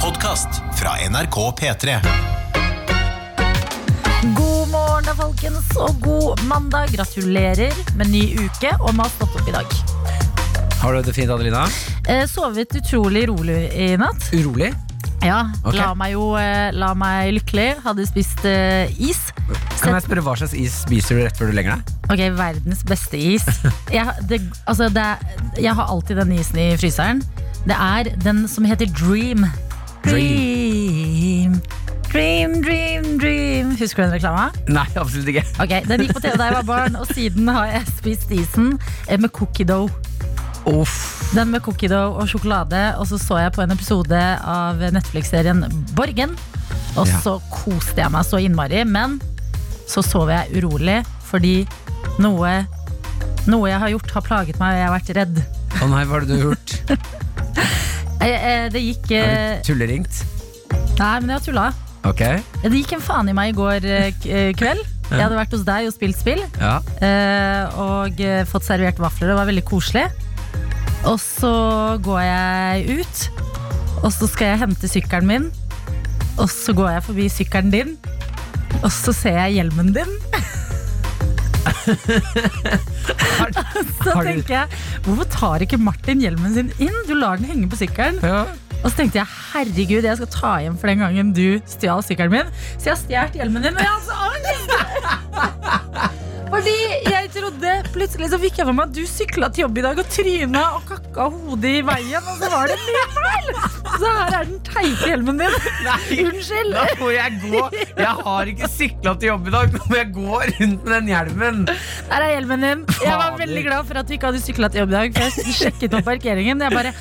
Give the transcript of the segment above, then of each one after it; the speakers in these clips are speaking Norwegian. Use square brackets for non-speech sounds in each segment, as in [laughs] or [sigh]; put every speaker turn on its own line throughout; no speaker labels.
podkast fra NRK P3.
God morgen da, folkens, og god mandag. Gratulerer med ny uke og med å ha stått opp i dag.
Har du det fint, Adelina?
Eh, sovet utrolig rolig i natt.
Urolig?
Ja,
Ok.
la meg jo eh, la meg lykkelig. Hadde spist eh, is.
Kan jeg spørre hva slags is spiser du rett før du legger deg?
Ok, verdens beste [laughs] is. Jeg, det, altså, det, jeg har alltid den isen i fryseren. Det er den som heter Dream. Dream, dream, dream. dream. Husker du den reklama?
Nei, absolutt ikke.
Ok, Den gikk på TV da jeg var barn, og siden har jeg spist isen eh, med cookie dough.
Uff.
Den med cookie dough og sjokolade, og så så jeg på en episode av Netflix-serien Borgen. Og
Ja.
så koste jeg meg så innmari, men så sov jeg urolig fordi noe, noe jeg har gjort, har plaget meg, og jeg har vært redd.
Å nei, hva har du gjort?
Eh, eh, Det gikk eh,
Har du tulleringt?
Nei, men jeg har tulla.
Ok.
Det gikk en faen i meg i går eh, k- eh, kveld. Jeg hadde vært hos deg og spilt spill.
Ja.
Eh, og eh, fått servert vafler. Det var veldig koselig. Og så går jeg ut, og så skal jeg hente sykkelen min. Og så går jeg forbi sykkelen din, og så ser jeg hjelmen din. [laughs]
Har,
Så
Har du-
tenker jeg, hvorfor tar ikke Martin hjelmen sin inn? Du lar den henge på sykkelen.
ja.
Og så tenkte jeg, herregud, jeg skal ta igjen for den gangen du stjal sykkelen min. Så jeg har stjålet hjelmen din, men jeg altså har så angst! Fordi jeg trodde Plutselig så fikk jeg for meg at du sykla til jobb i dag og tryna og kakka hodet i veien, og så var det min feil! Så her er den teite hjelmen din. Unnskyld.
Nå må jeg gå. Jeg har ikke sykla til jobb i dag. Nå må jeg gå rundt med den hjelmen.
Der er hjelmen din. Jeg var
Fader.
veldig glad for at du ikke hadde sykla til jobb i dag, for jeg sjekket opp parkeringen. Jeg bare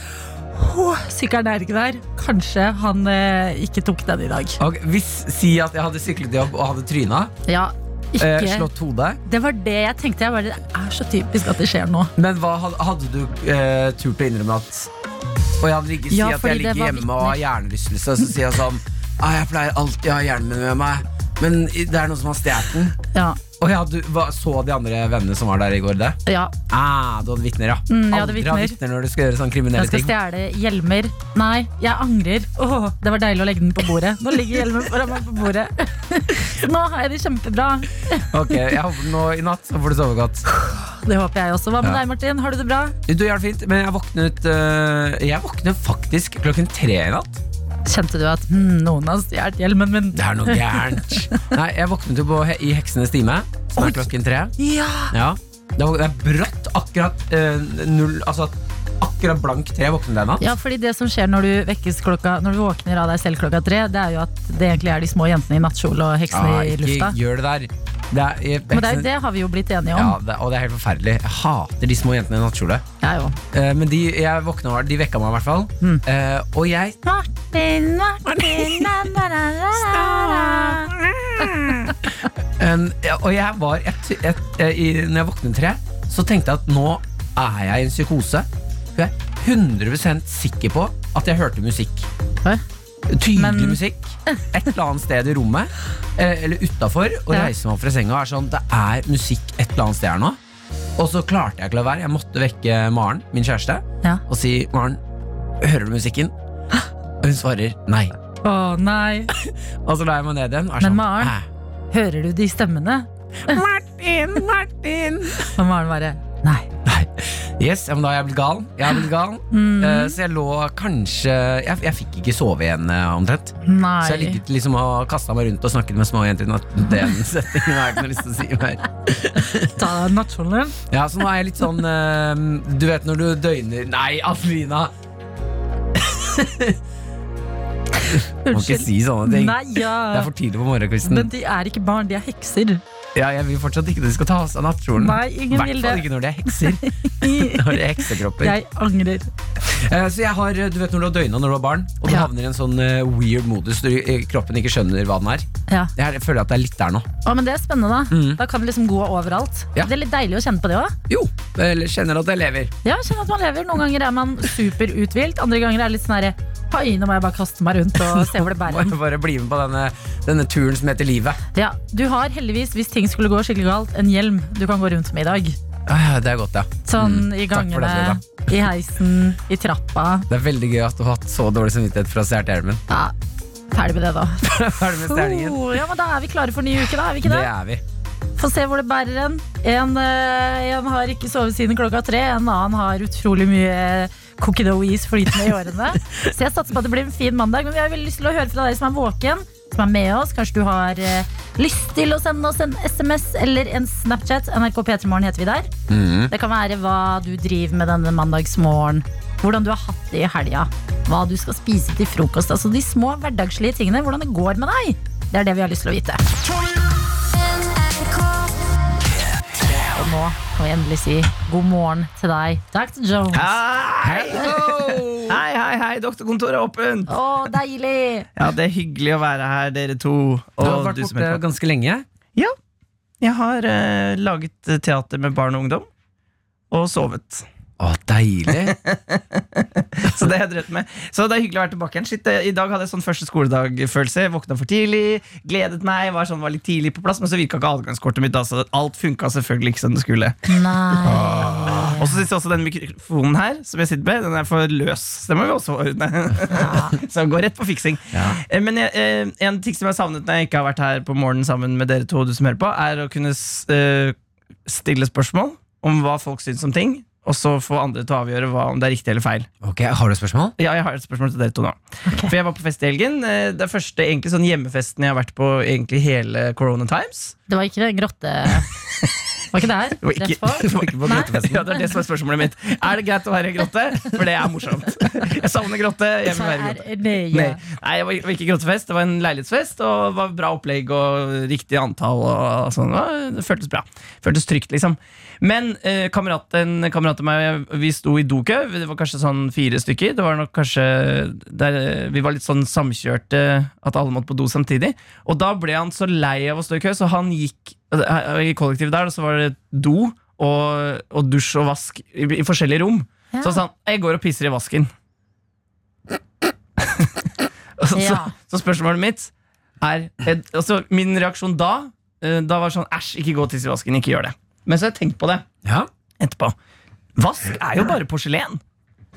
«Åh, Sykkelen er ikke der. Kanskje han eh, ikke tok den i dag.
Ok, hvis Si at jeg hadde syklet til jobb og hadde tryna.
Ja, ikke
Eh, slått hodet.
Det var det jeg tenkte. Jeg bare, det er så typisk at det skjer nå.
Men hva had- hadde du eh, turt å innrømme at Og jeg hadde ligget, si
Ja,
at
fordi
jeg
det var
ligger hjemme og har hjernerystelse, og så sier jeg sånn ah, Jeg pleier alltid å ha hjelmen med meg, men i- det er noen som har stjålet den.
Ja,
Og ja, du, hva, Så de andre vennene som var der i går det?
ja.
Ah, du hadde vitner, ja.
Mm, jeg hadde
Aldri ha
vitner.
vitner når du skal gjøre sånne
Jeg
kriminelle
skal
ting.
stjele hjelmer. Nei, jeg angrer. Åh, det var deilig å legge den på bordet. Nå ligger hjelmen foran meg på bordet. [laughs] Så nå har jeg det kjempebra.
Ok, jeg håper nå I natt så får du sove godt.
Det håper jeg også. Hva med
Ja.
deg, Martin? Har du det bra?
Du, jeg har det fint, men jeg våknet øh, Jeg våknet faktisk klokken tre i natt.
Kjente du at hm, noen har stjålet hjelmen min?
Det er noe
[laughs]
gærent. Nei, jeg våknet jo på, he- i Heksenes time, som er klokken tre.
Ja!
Ja. Det er, det er brått akkurat øh, null Altså akkurat blank tre våknet jeg i natt.
Ja, fordi det som skjer når du vekkes klokka Når du våkner av deg selv klokka tre, det er jo at det egentlig er de små jentene i nattkjole og heksene
Ah,
i lufta.
ikke gjør det der. Det er, jeg,
Men det, er jo det har vi jo blitt enige
Ja,
om.
det, og det er helt forferdelig. Jeg hater de små jentene i nattkjole.
Jeg òg.
Eh, men de, jeg våkna, de vekka meg i hvert fall.
Mm.
Eh, og jeg
Martin, Martin, na, na, na, na, na.
en- ja, Og jeg var et, et, eh, i, Når jeg våknet tre, så tenkte jeg at nå er jeg i en psykose. For jeg er 100 sikker på at jeg hørte musikk.
Hæ?
Tydelig
Men-
musikk. Et eller annet sted i rommet eh, eller utafor. Og
Ja.
reiser meg opp fra senga og er sånn Det er musikk et eller annet sted her nå. Og så klarte jeg ikke å la være. Jeg måtte vekke Maren, min kjæreste,
Ja.
og si Maren, hører du musikken? Og hun svarer nei.
Å nei.
Og så la jeg meg ned igjen. og er
Men
sånn,
Maren-
«Æ,
Hører du de stemmene?
Martin, Martin
Og Maren bare Nei.
Yes, ja, men da har jeg blitt gal, jeg har blitt gal.
Mm,
Eh, Så jeg lå kanskje Jeg, jeg fikk ikke sove igjen eh, omtrent Så jeg
nei.
ligget liksom og kastet meg rundt Og snakket med små jenter i natt Den [laughs] settingen har jeg ikke noe lyst til å si mer
Ta av deg nattkjolen din.
Ja, så nå er jeg litt sånn eh, Du vet når du døgner Nei, Adelina, [laughs] må ikke
Unnskyld.
si sånne ting
Nei,
Det
ja.
er for tidlig på morgenkvisten
Men de er ikke barn, de er hekser.
[laughs] Ja, jeg vil fortsatt ikke at de skal ta av seg nattkjolen
Nei, ingen vil
Hvertfall
det.
ikke når de er
[laughs]
hekser Når de er heksekropper
Jeg angrer.
Eh, Så jeg har, du vet når du har døgna når du var barn, og du
Ja.
havner i en sånn eh, weird modus du, eh, kroppen ikke skjønner hva den er.
Ja.
Jeg føler at det er litt der nå.
Å, men det er spennende. Da
Mm.
Da kan vi liksom gå overalt.
Ja.
Det er litt deilig å kjenne på det òg.
Jo, eller kjenner at jeg lever.
Ja, kjenne at man lever. Noen ganger er man superuthvilt, andre ganger er det litt sånn herre Oi, nå må jeg bare kaste meg rundt og se hvor det
[laughs]
bærer.
Må jeg bare bli med på denne, denne turen som heter livet.
Ja, Du har heldigvis, hvis ting skulle gå skikkelig galt, en hjelm du kan gå rundt med i dag.
Ja, ja, det er godt, ja.
Sånn
Mm,
i
Takk for det,
gangene,
Frida.
i heisen, i trappa.
Det er veldig gøy at du har hatt så dårlig samvittighet for å ha stjålet hjelmen. [laughs]
Ja, ferdig med det, da.
Ferdig med stjerningen.
Oh, ja, men Da er vi klare for ny uke, da. er vi ikke
Det
det?
er vi.
Få se hvor det bærer en. En, eh, en har ikke sovet siden klokka tre. En annen har utrolig mye eh, cookie dough-is flytende i
[laughs]
årene. Så jeg satser på at det blir en fin mandag. Men vi har veldig lyst til å høre fra deg som er våken, som er med oss. Kanskje du har eh, lyst til å sende oss en SMS eller en Snapchat. NRK P3morgen heter vi der.
Mm.
Det kan være hva du driver med denne mandagsmorgen. Hvordan du har hatt det i helga. Hva du skal spise til frokost. Altså de små hverdagslige tingene. Hvordan det går med deg. Det er det vi har lyst til å vite. Og nå kan vi endelig si god morgen til deg, Dr. Jones.
Hei,
Hello!
hei, hei, hei. doktorkontoret er åpent!
Å, deilig!
Ja, Det er hyggelig å være her, dere to.
Du
Og
har vært
du som
borte
hører på.
ganske lenge.
Jeg har eh, laget eh, teater med barn og ungdom. Og sovet. [laughs]
Å, deilig.
Så det har jeg drevet med Så det er hyggelig å være tilbake igjen. Shit, eh, I dag hadde jeg sånn første skoledag-følelse. Våkna for tidlig, gledet meg, var, sånn, var litt tidlig på plass. Men så virka ikke adgangskortet mitt, da, så alt funka selvfølgelig ikke som det skulle.
Nei.
Og så synes jeg også den mikrofonen her som jeg sitter med, den er for løs. Så det må vi også ordne. [laughs] så gå rett på fiksing. Eh, Men jeg, eh, en ting som jeg har savnet når jeg ikke har vært her på morgenen sammen med dere to, du som hører på, er å kunne s- eh, stille spørsmål om hva folk syns om ting. Og så få andre til å avgjøre hva, om det er riktig eller feil.
Ok, Har du et spørsmål?
Ja, jeg har et spørsmål til dere to nå. For jeg var på fest i helgen. eh, Det er første egentlig sånn hjemmefesten jeg har vært på egentlig hele Corona Times.
Det var ikke det grotte... Var ikke der?
var
Rett
ikke-
på?
Du var ikke på
Nei.
grotefesten.
Ja, det er det som er spørsmålet mitt. Er det greit å være i grotte? For det er morsomt. Jeg savner grotte. Jeg vil være i grotte.
Er- [laughs] Nei, ja.
Nei, nei det var ikke grottefest. Det var en leilighetsfest, og det var bra opplegg og riktig antall. Og sånn. Det var- Det føltes bra. Føltes trygt, liksom. Men eh, kameraten, kameraten meg, vi sto i dokø. Det var kanskje sånn fire stykker. Det var nok kanskje der, Vi var litt sånn samkjørte, at alle måtte på do samtidig. Og da ble han så lei av å stå i kø, så han gikk eh, i kollektivet der, og så var det do og, og dusj og vask i, i forskjellige rom.
Ja.
Så sa han jeg går og pisser i vasken. Og [laughs] så,
Ja.
så spørsmålet mitt er eh, altså Min reaksjon da eh, Da var sånn æsj, ikke gå og tiss i vasken. Ikke gjør det. Men så har jeg tenkt på det
Ja.
etterpå. Vask er jo bare porselen.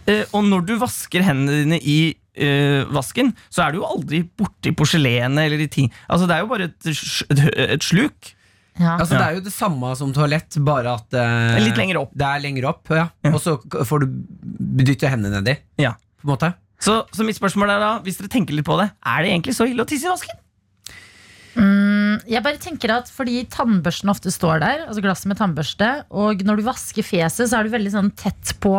Eh, og når du vasker hendene dine i eh, vasken, så er du jo aldri borti porselenet eller i ting. Altså, det er jo bare et, sj- et, et sluk.
Ja.
Altså, Det er jo det samme som toalett, bare at eh,
Litt lenger opp.
Det er lenger opp, ja.
Ja.
Og så k- får du dytte hendene nedi.
Ja.
På en måte.
Så, så mitt spørsmål er da, hvis dere tenker litt på det, er det egentlig så ille å tisse i vasken?
Jeg bare tenker at fordi tannbørsten ofte står der, altså glasset med tannbørste, og når du vasker fjeset, så er du veldig sånn tett på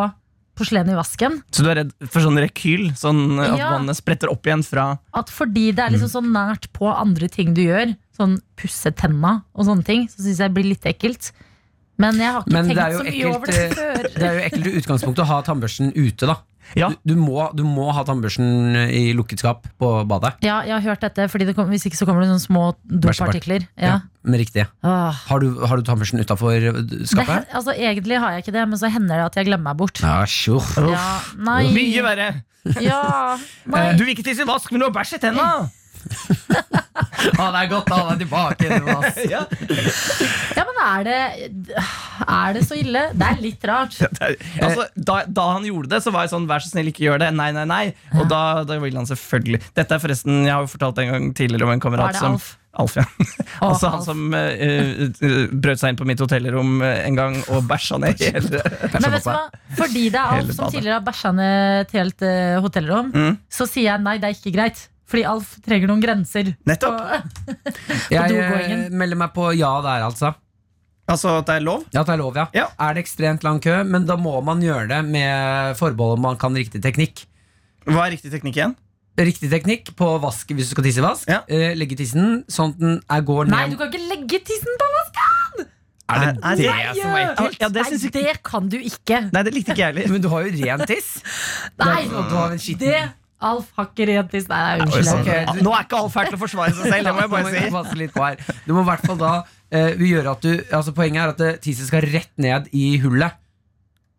porselenet i vasken.
Så du er redd for sånn rekyl? Sånn at
Ja.
vannet spretter opp igjen fra
At fordi det er liksom
Mm.
så nært på andre ting du gjør, sånn pusse tenna og sånne ting, så syns jeg det blir litt ekkelt. Men jeg har ikke
Men det er
tenkt
jo
så mye over
ekkelt
det
eh,
før.
Det er jo ekkelt i utgangspunktet å ha tannbørsten ute, da.
Ja.
Du, du, må, du må ha tannbørsten i lukket skap på badet.
Ja, jeg har hørt dette, fordi det kom, hvis ikke så kommer det sånne små dopartikler. Ja.
Men riktig.
Åh.
Har du, har du tannbørsten utafor
Det,
skapet?
altså, egentlig har jeg ikke det, men så hender det at jeg glemmer meg bort.
Ja, sure.
Ja, nei,
Mye verre!
[laughs]
ja, nei.
Eh, Du vil ikke tisse i vask, men du har bæsj i tenna! [laughs]
Å, det er godt å ha deg tilbake. Jonas.
Ja.
Ja, men er det, er det så ille? Det er litt rart.
Altså, da, da han gjorde det, så var jeg sånn vær så snill, ikke gjør det. Nei, nei, nei. Og da, da ville han selvfølgelig Dette er forresten, jeg har jo fortalt en gang tidligere om en
Var
kamerat
det
som
Alf?
Alf, ja.
Å,
altså han
Alf.
som eh, eh, eh, brøt seg inn på mitt hotellrom eh, en gang og bæsja ned
[laughs]
hele
Men
sånn
vet du hva? Fordi det er Alf
Hele
som
badet.
tidligere har bæsja ned et helt eh, hotellrom,
Mm.
så sier jeg nei, det er ikke greit. Fordi Alf trenger noen grenser.
Nettopp!
Og,
Jeg eh,
dogåingen.
melder meg på ja der, altså.
Altså at det er lov?
Ja, det er lov, ja.
Ja.
Er det ekstremt lang kø, men da må man gjøre det med forbehold om man kan riktig teknikk.
Hva er riktig teknikk igjen?
Riktig teknikk på vask hvis du skal tisse i vask.
Ja.
Eh, legge tissen sånn at den er går
nei, du
ned.
kan ikke legge tissen på vasken!
Er det det, som er
Nei,
ekkelt? Ja, det syns ikke
det kan du ikke.
Nei, det likte ikke jeg heller.
Men du har jo ren [laughs] tiss.
Nei,
Det er ikke sånn at du har en skitten-
det Alf har ikke rent tiss. Nei, [laughs] nei, unnskyld.
Ok,
Ja,
du-
Nå er ikke Alf her til å forsvare seg selv, det må jeg
[laughs]
Da
bare
må vi
si.
passe litt på her. Du må i hvert fall da eh, vi gjør at du, altså Poenget er at eh, tissen skal rett ned i hullet.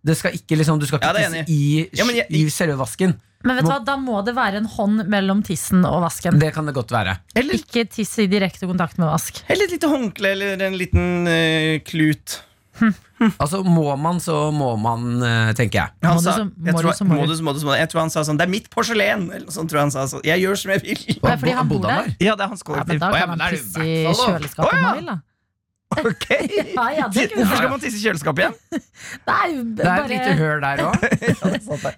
Det skal ikke liksom, Du skal
Ja,
ikke
det er
tisse i,
Ja, men jeg-
i selve vasken.
Men vet du hva, da må det være en hånd mellom tissen og vasken.
Det kan det godt være.
Eller,
Ikke tiss i direkte kontakt med vask.
eller et lite håndkle eller en liten eh, klut.
Altså, må man, så må man, eh, tenker jeg.
Må
Han
du
sa,
så-
jeg,
må
tror,
du så må du.
må du så må du så må du. jeg tror han sa sånn 'Det er mitt porselen!' Eller noe sånt, tror jeg han sa sånn. 'Jeg gjør som jeg vil'.
Nei, fordi han
Bodde
bor der.
[laughs] Ja, det er hans
Ja, men
kollektiv.
da
Å, ja,
kan
men
han
da er det
tisse
i
i
hvert fall lov.
kjøleskapet om
Å, ja,
han vil, da.
[laughs] [laughs] ok.
Ja, ja, det kunne
Hvorfor skal man tisse i kjøleskapet igjen?
Nei,
Det er et
bare
lite høl der òg.
[laughs]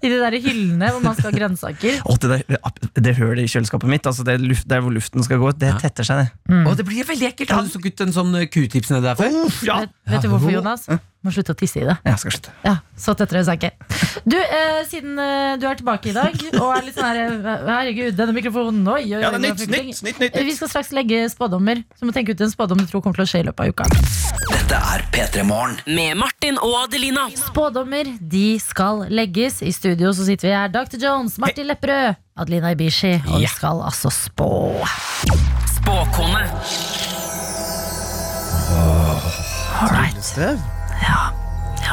i de der hyllene hvor man skal ha
[laughs]
grønnsaker.
Å, det, der, det hølet i kjøleskapet mitt, altså det luft, der hvor luften skal gå ut, det tetter seg, det.
Mm.
Og det blir veldig ekkelt. Har du så gutt en sånn eh, q-tips nedi der før?
Uff, ja.
Vet, vet du hvorfor, Jonas? Må slutte å tisse i det.
Jeg skal slutte.
Ja, så tettere sa jeg ikke. Du, eh, siden eh, du er tilbake i dag og er litt sånn her eh, Herregud, denne mikrofonen oi, oi,
Ja,
oi,
det er nytt,
det var
nytt,
fryktelig.
nytt, nytt,
Eh, Vi
nytt.
skal straks legge spådommer. Så må tenke ut en spådom du tror kommer til å skje i løpet av uka.
Med Martin og Adelina.
Spådommer de skal legges. I studio så sitter vi her. Dr. Jones, Martin Lepperød, Adelina Ibishi. Og vi skal altså spå.
Spåkone.
Støv.
Ja,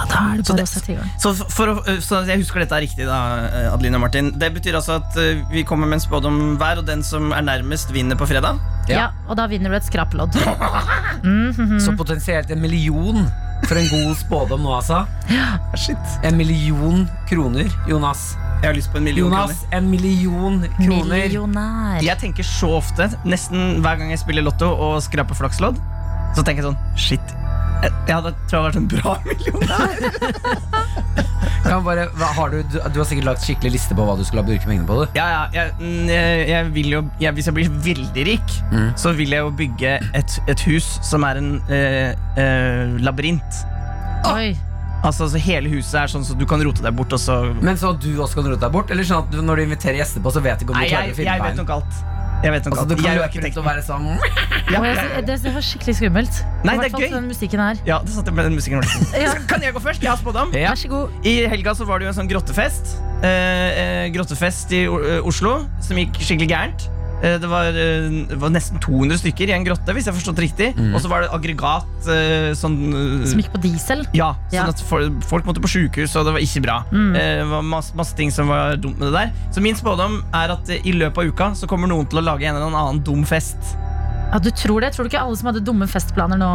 da er det bare
Så det-
å sette i gang.
Så, f- for, å- eh, så jeg husker dette er riktig, da, Adeline og Martin. Det betyr altså at eh, vi kommer med en spådom hver, og den som er nærmest, vinner på fredag.
Ja.
Ja, og da vinner du et skrapelodd.
Så potensielt en million for en god spådom nå, altså.
Shit.
En million kroner, Jonas.
Jeg har lyst på en million
Jonas,
kroner.
en million kroner.
Millionær.
Jeg tenker så ofte, nesten hver gang jeg spiller lotto og skraper flakslodd, så tenker jeg sånn Shit. Jeg, jeg hadde, tror jeg hadde vært en bra [laughs] millionær.
Kan vi bare, hva har du, du du har sikkert lagt skikkelig liste på hva du skulle ha brukt pengene på. Du.
Ja, ja, jeg, mm, jeg, jeg vil jo, jeg, hvis jeg blir veldig rik,
Mm.
så vil jeg jo bygge et, et hus som er en eh, eh, labyrint.
Oi.
Altså, altså Hele huset er sånn så du kan rote deg bort. Og så
Men så du også kan rote deg bort? Eller sånn at du, når du inviterer gjester på, så vet du ikke om du
Nei,
klarer
jeg,
å finne
jeg vet
veien?
nok alt. Jeg vet nok
Altså, du
alt.
kan
Jeg er jo
løpe rundt
arkitekt.
og være sånn
Ja,
Oi,
ja,
jeg,
ja.
det, det var skikkelig skummelt.
Nei,
I
det er
hvert fall
gøy.
til den musikken her.
ja, det satt jeg med den musikken.
[laughs]
Ja.
Så Kan jeg gå først? Jeg har spådd om.
Ja.
Vær så god.
I helga så var det jo en sånn grottefest. Eh, eh, grottefest i O- eh, Oslo som gikk skikkelig gærent. Eh, det, var, eh, det var nesten 200 stykker i en grotte, hvis jeg har forstått riktig. Og så var det aggregat eh, sånn eh,
Som gikk på diesel.
Ja,
Ja. Mm.
sånn at fol- folk måtte på sykehus, og det var ikke bra. Eh, Det var masse, masse ting som var dumt med det der. Så min spådom er at eh, i løpet av uka så kommer noen til å lage en eller annen dum fest.
Ja, du tror det? Tror du ikke alle som hadde dumme festplaner nå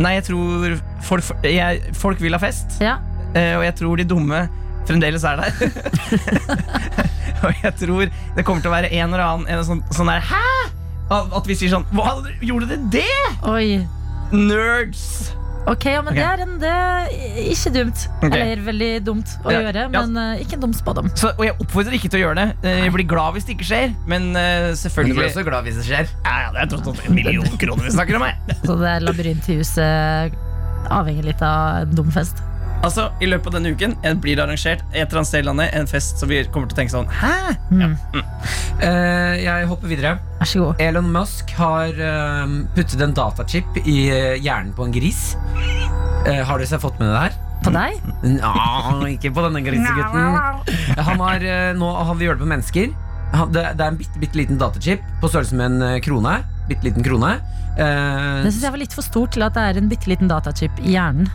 Nei, jeg tror folk, jeg, folk vil ha fest,
Ja,
eh, og jeg tror de dumme fremdeles er
[laughs]
der. og jeg tror det kommer til å være en eller annen en sånn, sånn der Hæ?! At at vi sier sånn Hva, gjorde dere det?!
oi
Nerds!
Ok, ja, men
Ok.
det er en det er ikke dumt
Ok.
Eller veldig dumt å
Ja,
gjøre
ja.
Men eh, ikke en dum spådom
Så, og jeg oppfordrer ikke til å gjøre det. Eh, Jeg blir glad hvis det ikke skjer, men eh,
Men
selvfølgelig
du blir også glad hvis det skjer.
Ja, ja, det er tross alt en million kroner vi snakker om her.
Så det er labyrint i huset Avhenger litt av en dum fest
Altså, I løpet av denne uken eh, blir det arrangert et eller annet sted i landet en fest som vi kommer til å tenke sånn Hæ?
Eh, jeg hopper videre.
Vær så god
Elon Musk har eh, puttet en datachip i eh, hjernen på en gris. Eh, har du så fått med det her?
På deg?
Nja, ikke på denne grisegutten. Han har, eh, nå har vi gjort det på mennesker. Han, det, det er en bitte, bitte liten datachip på størrelse med en eh, krone. Bitte liten krone. Eh,
Det synes jeg var litt for stort til at det er en bitteliten datachip i hjernen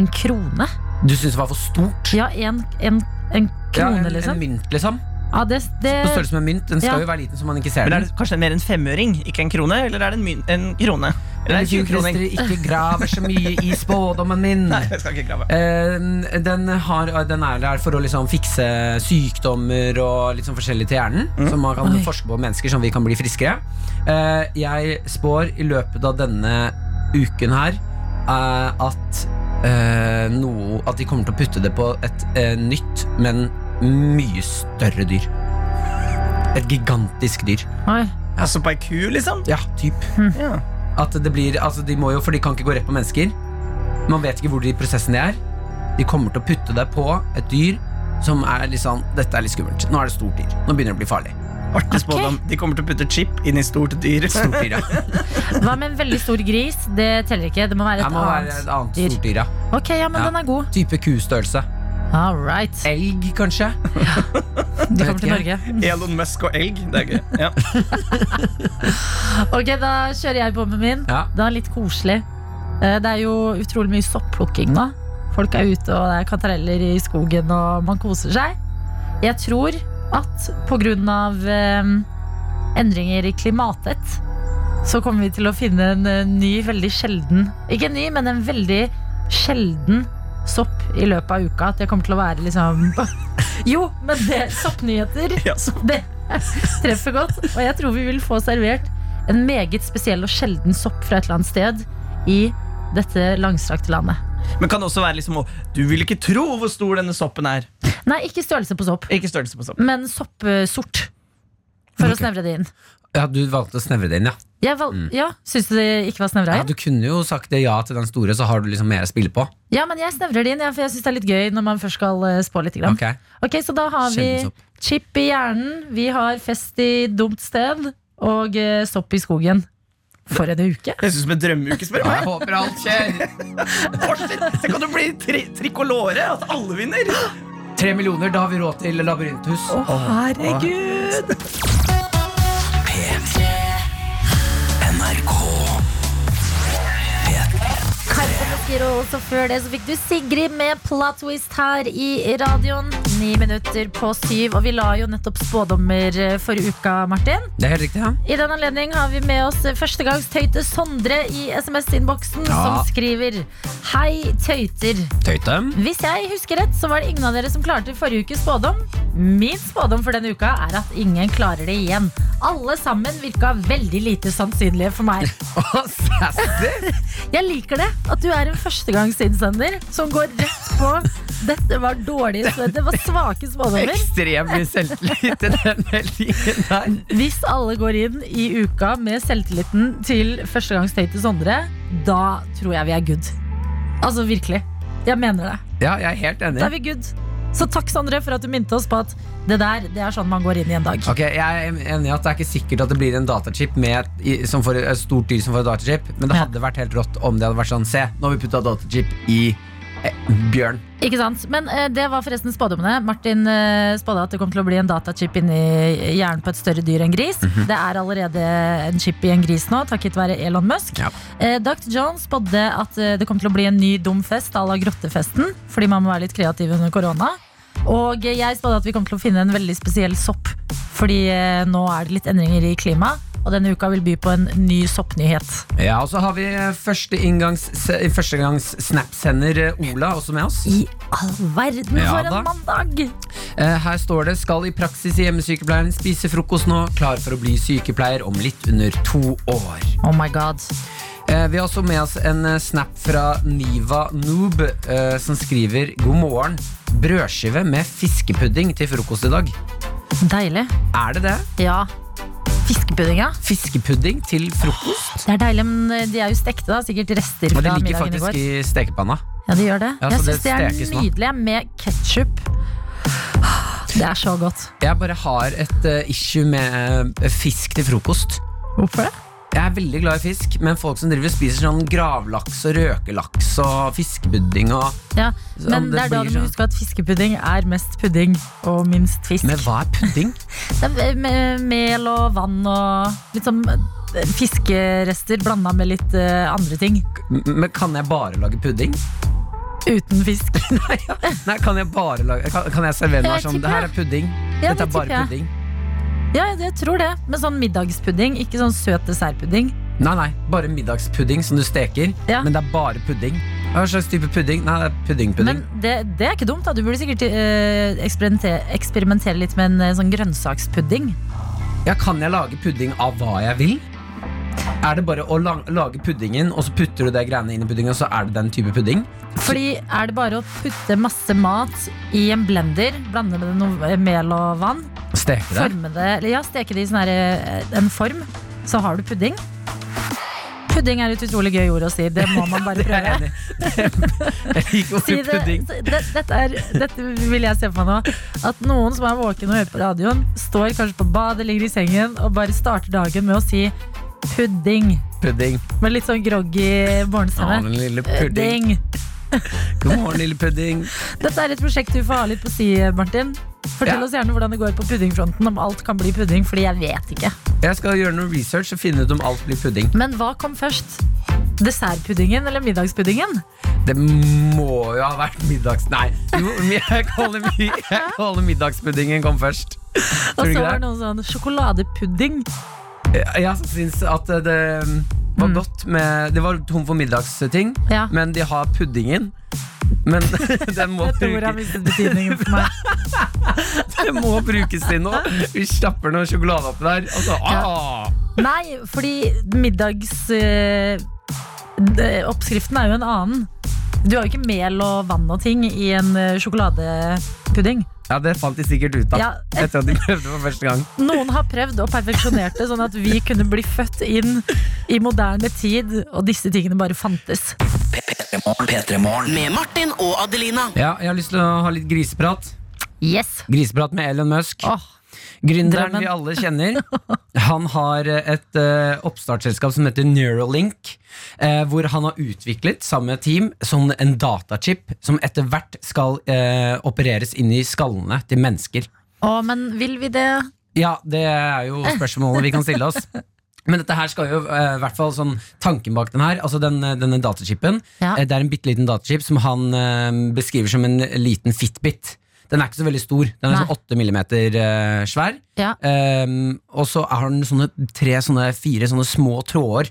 En krone?
du syns det var for stort?
Ja, en, en, en krone
Ja, en, en
liksom
mynt, liksom.
ja, det, det,
På størrelse med en mynt. Den skal
Ja.
jo være liten så man ikke ser
Men
den.
er det kanskje mer en femøring, ikke en krone? Eller er det en, my en krone? Eller er det
Men
20
du,
kroning?
Christer, ikke graver så mye i spådommen
[laughs]
min.
Nei, jeg skal ikke grave.
Eh, den, har, den er der for å liksom fikse sykdommer og litt sånn forskjellig til hjernen. Som man kan
Oi.
forske på mennesker, sånn vi kan bli friskere. Eh, jeg spår i løpet av denne uken her eh, at eh, noe At de kommer til å putte det på et eh, nytt, men mye større dyr. Et gigantisk dyr.
Oi,
Altså på ei ku, liksom?
Ja, typ.
Ja.
At det blir, altså de må jo, for de kan ikke gå rett på mennesker Man vet ikke hvor de i prosessen de er De kommer til å putte deg på et dyr Som er litt sånn, dette er litt skummelt Nå er det stort dyr, nå begynner det å bli farlig
Artig spådom. De kommer til å putte chip inn i [laughs] stort dyr.
Stort dyr,
[laughs]
ja
hva med en veldig stor gris? Det teller ikke, det må være
Det
et
må være
annet
et annet
dyr.
stort dyr, ja
Ok, ja, men
Ja.
den er god
Type kustørrelse
All right.
Elg, kanskje
Du
vet
kommer til
ikke.
Norge.
Elon Musk og elg. Det er gøy. Ja.
Ok, Da kjører jeg på med min.
Ja,
Den er litt koselig. Eh, Det er jo utrolig mye sopplukking nå. Folk er ute, og det er kantareller i skogen, og man koser seg. Jeg tror at pga. eh, endringer i klimatet, så kommer vi til å finne en eh, ny, veldig sjelden Ikke en ny, men en veldig sjelden sopp i løpet av uka. At jeg kommer til å være liksom [laughs] Jo, men det soppnyheter,
[laughs] Ja, så
det treffer godt. Og jeg tror vi vil få servert en meget spesiell og sjelden sopp fra et eller annet sted i dette langstrakte landet.
Men kan det også være liksom å, Du vil ikke tro hvor stor denne soppen er.
Nei, ikke størrelse på sopp,
Ikke størrelse på soppen.
men soppsort. For å snevre det inn.
Ja, Du valgte å snevre det inn, ja.
Jeg val Ja, Syns du det ikke var snevra
Mm. ja.
inn?
Du kunne jo sagt det ja til den store, så har du liksom mer å spille på.
Ja, men jeg snevrer det inn, ja, for jeg syns det er litt gøy når man først skal eh, spå litt. Grann.
Ok,
Ok, så da har vi
Sjeldensopp.
chip i hjernen, vi har fest i dumt sted og eh, sopp i skogen. For en uke!
Jeg synes med drømmeuke spør meg.
Jeg håper alt skjer!
Fortsett, så kan det bli tri trikolore, at alle vinner.
Tre millioner, da har vi råd til labyrinthus.
Herregud! Karpe Mesker, og også før det så fikk du Sigrid med Plot Twist her i radioen. Ni minutter på syv, og vi la jo nettopp spådommer eh, for uka, Martin.
Det er helt riktig, ja.
I den anledning har vi med oss førstegangstøyte Sondre i SMS-innboksen, som
Ja.
skriver Hei, tøyter. [laughs]
Tøyte.
Hvis jeg husker rett, så var det ingen av dere som klarte forrige ukes spådom. Min spådom for denne uka er at ingen klarer det igjen. Alle sammen virka veldig lite sannsynlige for meg. Jeg liker det at du er en førstegangsinnsender som går rett på dette var dårlige, dette var svake spådommer.
Ekstrem selvtillit i den meldingen der.
Hvis alle går inn i uka med selvtilliten til førstegangstøy til Sondre, da tror jeg vi er good. Altså virkelig. Jeg mener det.
Ja, jeg er helt
Da
enig.
er vi good. Så takk, Sondre, for at du minte oss på at det der det er sånn man går inn i en dag.
Ok, Jeg er enig i at det er ikke sikkert at det blir en datachip med et, i- som får, et stort dyr som får et datachip, men det
Ja.
hadde vært helt rått om det hadde vært sånn Se, nå har vi putta datachip i eh, bjørn.
Ikke sant? Men eh, det var forresten spådommene. Martin eh, spådde at det kom til å bli en datachip inni hjernen på et større dyr enn gris.
Mhm.
Det er allerede en chip i en gris nå, takket være Elon Musk.
Ja.
Eh, Dr. John spådde at eh, det kom til å bli en ny dum fest à la Grottefesten, fordi man må være litt kreativ under korona. Og eh, jeg spådde at vi kom til å finne en veldig spesiell sopp, fordi eh, nå er det litt endringer i klimaet, og denne uka vil by på en ny soppnyhet.
Ja, Og så har vi eh, første inngangs- se- førstegangs-snapsender eh, Ola også med oss.
I all verden,
Ja
for
da.
en mandag!
Eh, Her står det 'Skal i praksis i hjemmesykepleien, spise frokost nå', 'Klar for å bli sykepleier om litt under to år'.
Oh my god.
Eh, Vi har også med oss en eh, snap fra Niva Noob eh, som skriver 'God morgen. Brødskive med fiskepudding til frokost i dag'.
Deilig.
Er det det?
Ja. Fiskepudding, ja.
Fiskepudding til frokost?
Det er deilig, men eh, de er jo stekte, da. Sikkert rester
Og det
fra
ligger
middagen i
faktisk
går.
i stekepanna.
Ja, de gjør det.
Ja,
jeg
så det
syns det er
stekes nå.
nydelig jeg, med ketsjup. Det er så godt.
Jeg bare har et eh, issue med eh, fisk til frokost.
Hvorfor det?
Jeg er veldig glad i fisk, men folk som driver og spiser sånn gravlaks og røkelaks og fiskepudding og
Ja,
Så
men
det
det er da
blir
du må
sånn.
huske at fiskepudding er mest pudding og minst fisk.
Men hva er pudding?
Det er med mel og vann og litt sånn eh, fiskerester blanda med litt eh, andre ting.
M- Men kan jeg bare lage pudding?
Uten fisk. [laughs]
Nei, ja. Nei kan jeg bare lage Kan, kan jeg servere noe
Jeg
sånn?
tipper
Det her
det.
er pudding.
Ja,
Dette
det
er bare
tipper jeg.
pudding.
Ja, jeg tror det. Men sånn middagspudding, ikke sånn søt dessertpudding.
Nei, nei, bare middagspudding som du steker.
Ja.
Men det er bare pudding. Hva slags type pudding? Nei, det er puddingpudding.
Men det, det er ikke dumt. da Du burde sikkert eh, eksperimentere, eksperimentere litt med en eh, sånn grønnsakspudding.
Ja, kan jeg lage pudding av hva jeg vil? Er det bare å la lage puddingen, og så putter du det greiene inn i puddingen, og så er det den type pudding?
Fordi er det bare å putte masse mat i en blender, blande med noe eh, mel og vann,
Steke det?
forme det, eller ja, steke det i sånn her, eh, en form, så har du pudding? Pudding er et utrolig gøy ord å si. Det må man bare
[laughs] Det
prøve.
er jeg enig i. Jeg
Si
liker ordet
det,
pudding.
det, dette, er, dette vil jeg se for meg nå. At noen som er våken og hører på radioen, står kanskje på badet, ligger i sengen og bare starter dagen med å si pudding.
Pudding.
Med litt sånn groggy
Å,
morgenstemme.
den lille pudding.
Pudding.
God morgen, lille pudding.
Dette er et prosjekt du får ha litt på si, Martin. Fortell
Ja.
oss gjerne hvordan det går på puddingfronten, om alt kan bli pudding, fordi jeg vet ikke.
Jeg skal gjøre noe research og finne ut om alt blir pudding.
Men hva kom først? Dessertpuddingen eller middagspuddingen?
Det må jo ha vært middags... Nei, jo, jeg kaller, mi- jeg kaller middagspuddingen kom først.
Og
du
så
ikke
var
det?
det noen sånn sjokoladepudding.
Jeg syns at eh, det var godt med Det var tom for middagsting,
Ja.
men de har puddingen. Men [laughs] den må,
Dette ordet har
bruke,
mistet betydningen for
[laughs]
meg.
den må brukes til noe. Vi stapper noe sjokolade oppi der. Og så, ah!
Nei, fordi middags... eh, det- oppskriften er jo en annen. Du har jo ikke mel og vann og ting i en eh, sjokoladepudding.
Ja, det fant de sikkert ut av
Ja.
etter at de prøvde for første gang.
Noen har prøvd og perfeksjonert det, sånn at vi kunne bli født inn i moderne tid, og disse tingene bare fantes.
Med Martin og Adelina.
Ja, jeg har lyst til å ha litt griseprat.
Yes.
Griseprat med Elon Musk.
Åh,
Gründeren
drømmen.
vi alle kjenner. Han har et eh, oppstartsselskap som heter Neuralink, eh, hvor han har utviklet sammen med et team som en datachip som etter hvert skal eh, opereres inn i skallene til mennesker.
Å, men vil vi det?
Ja, det er jo spørsmålet vi kan stille oss. Men dette her skal jo, eh, i hvert fall sånn tanken bak den her, altså den, eh, denne datachipen,
Ja.
eh, det er en bitte liten datachip som han eh, beskriver som en liten fitbit. Den er ikke så veldig stor, den er
Nei.
sånn 8 millimeter eh, svær.
Ja.
Ehm, og så har den sånne tre, sånne fire sånne små tråder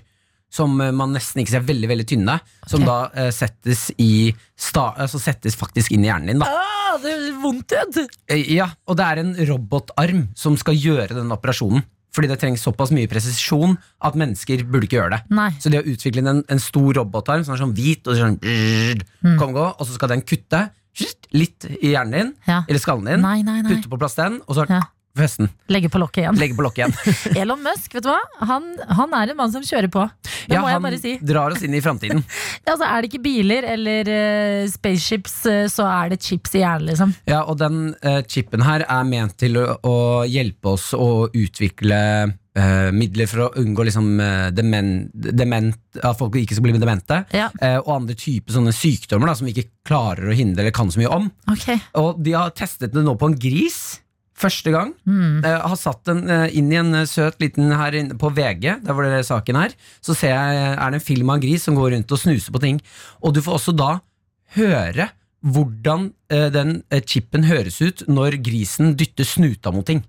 som eh, man nesten ikke ser veldig veldig tynne, som
Ok.
da eh, settes, i sta, altså settes faktisk inn i hjernen din. Da.
Åh, det er vondt ut!
Eh, Ja, og det er en robotarm som skal gjøre den operasjonen. Fordi det trengs såpass mye presisjon at mennesker burde ikke gjøre det.
Nei.
Så de har utviklet en, en stor robotarm som er sånn hvit, og sånn,
Mm.
kom, gå, og så skal den kutte litt i hjernen din,
Ja.
eller skallen din,
Nei, nei, nei.
putte på plass den, og så
Ja.
festen.
Legge på lokket igjen.
Legge på
[laughs]
lokket igjen.
Elon Musk, vet du hva? Han, han er en mann som kjører på. Det
Ja,
må jeg
han
bare si.
drar oss inn i framtiden.
Altså, er det ikke biler eller eh, spaceships, eh, så er det chips i hjernen, liksom.
Ja, og den eh, chipen her er ment til å, å hjelpe oss å utvikle eh, midler for å unngå liksom, eh, demen, dement, at folk ikke skal bli demente.
Ja.
eh, og andre typer sånne sykdommer da, som vi ikke klarer å hindre eller kan så mye om.
Ok.
Og de har testet det nå på en gris. Første gang.
Mm.
Eh, har satt den eh, inn i en eh, søt liten her inne på VG, der hvor det er saken her. Så ser jeg, eh, er det en film av en gris som går rundt og snuser på ting. Og du får også da høre hvordan eh, den eh, chipen høres ut når grisen dytter snuta mot ting.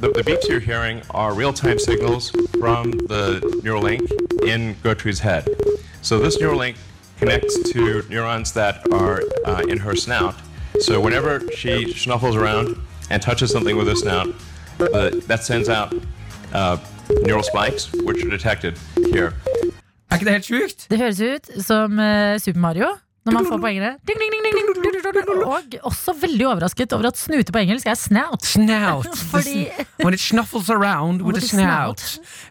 The, the beeps you're hearing are real-time signals from the Neuralink in Gertrude's head. So this Neuralink connects to neurons that are uh, in her snout. So whenever she snuffles around and touches something with her snout, the, that sends out uh, neural spikes, which are detected here.
Er ikke det helt sjukt?
Det høres ut som eh, Super Mario. Når man får poengene. Ding, ding, ding, ding, ding, ding, ding, ding. Og også veldig overrasket over at snute på engelsk er snout.
[laughs] Snout.
Fordi-
When it snuffles around with a
With a
snout.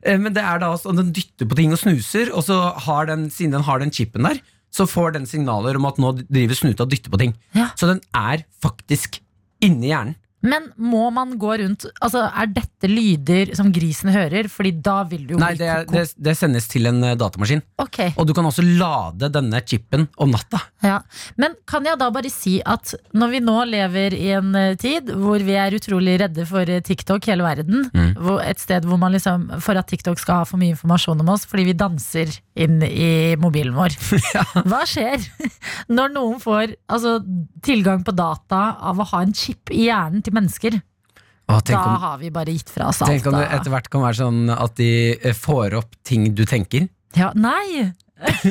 Eh, Men det er da altså, den dytter på ting og snuser, og så har den, siden den har den chipen der, så får den signaler om at nå driver snuta og dytter på ting.
Ja.
Så den er faktisk inni hjernen.
Men må man gå rundt Altså, er dette lyder som grisen hører? Fordi da vil du jo
Nei,
bli
det,
ko-
det, det sendes til en eh, datamaskin.
Ok,
Og du kan også lade denne chipen om natta.
ja. Men kan jeg da bare si at når vi nå lever i en eh, tid hvor vi er utrolig redde for eh, TikTok hele verden, hvor, et sted hvor man liksom for at TikTok skal ha for mye informasjon om oss fordi vi danser inn i mobilen vår.
[laughs]
Hva skjer [laughs] når noen får altså, tilgang på data av å ha en chip i hjernen til mennesker?
Å, tenk
da
om,
har vi bare gitt fra oss alt.
tenk om det
da.
etter hvert kan være sånn at de eh, får opp ting du tenker.
Ja,
[laughs]
nei!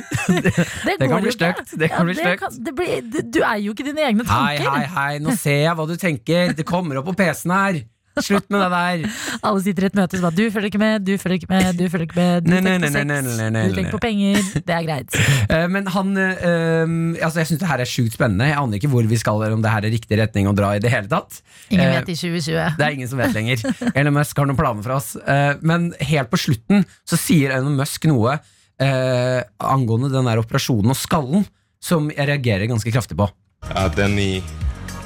det,
kan
går
bli
jo ikke.
stygt, det kan bli stygt.
kan- det blir- det- Du er jo ikke dine egne
Hei,
tanker.
hei, hei, nå ser jeg hva du tenker. Det kommer opp på PC-en her. Slutt med det der.
Alle sitter i et møte og bare 'du følger ikke med', 'du følger ikke med', 'du følger ikke med', 'du
Nei,
tenker
nei,
på
nei, nei, nei, nei,
sex',
nei,
'du tenker på
nei.
penger'. Det er greit.
[laughs] Eh, Men han eh, um, altså Jeg syns det her er sjukt spennende. Jeg aner ikke hvor vi skal, eller om det her er riktig retning å dra i det hele tatt.
Ingen
Eh,
vet i 2020.
Det er ingen som vet lenger.
[laughs]
Elon Musk har noen planer for oss. Eh, Men helt på slutten så sier Elon Musk noe eh, angående den der operasjonen og skallen som jeg reagerer ganske kraftig på.
Uh, then the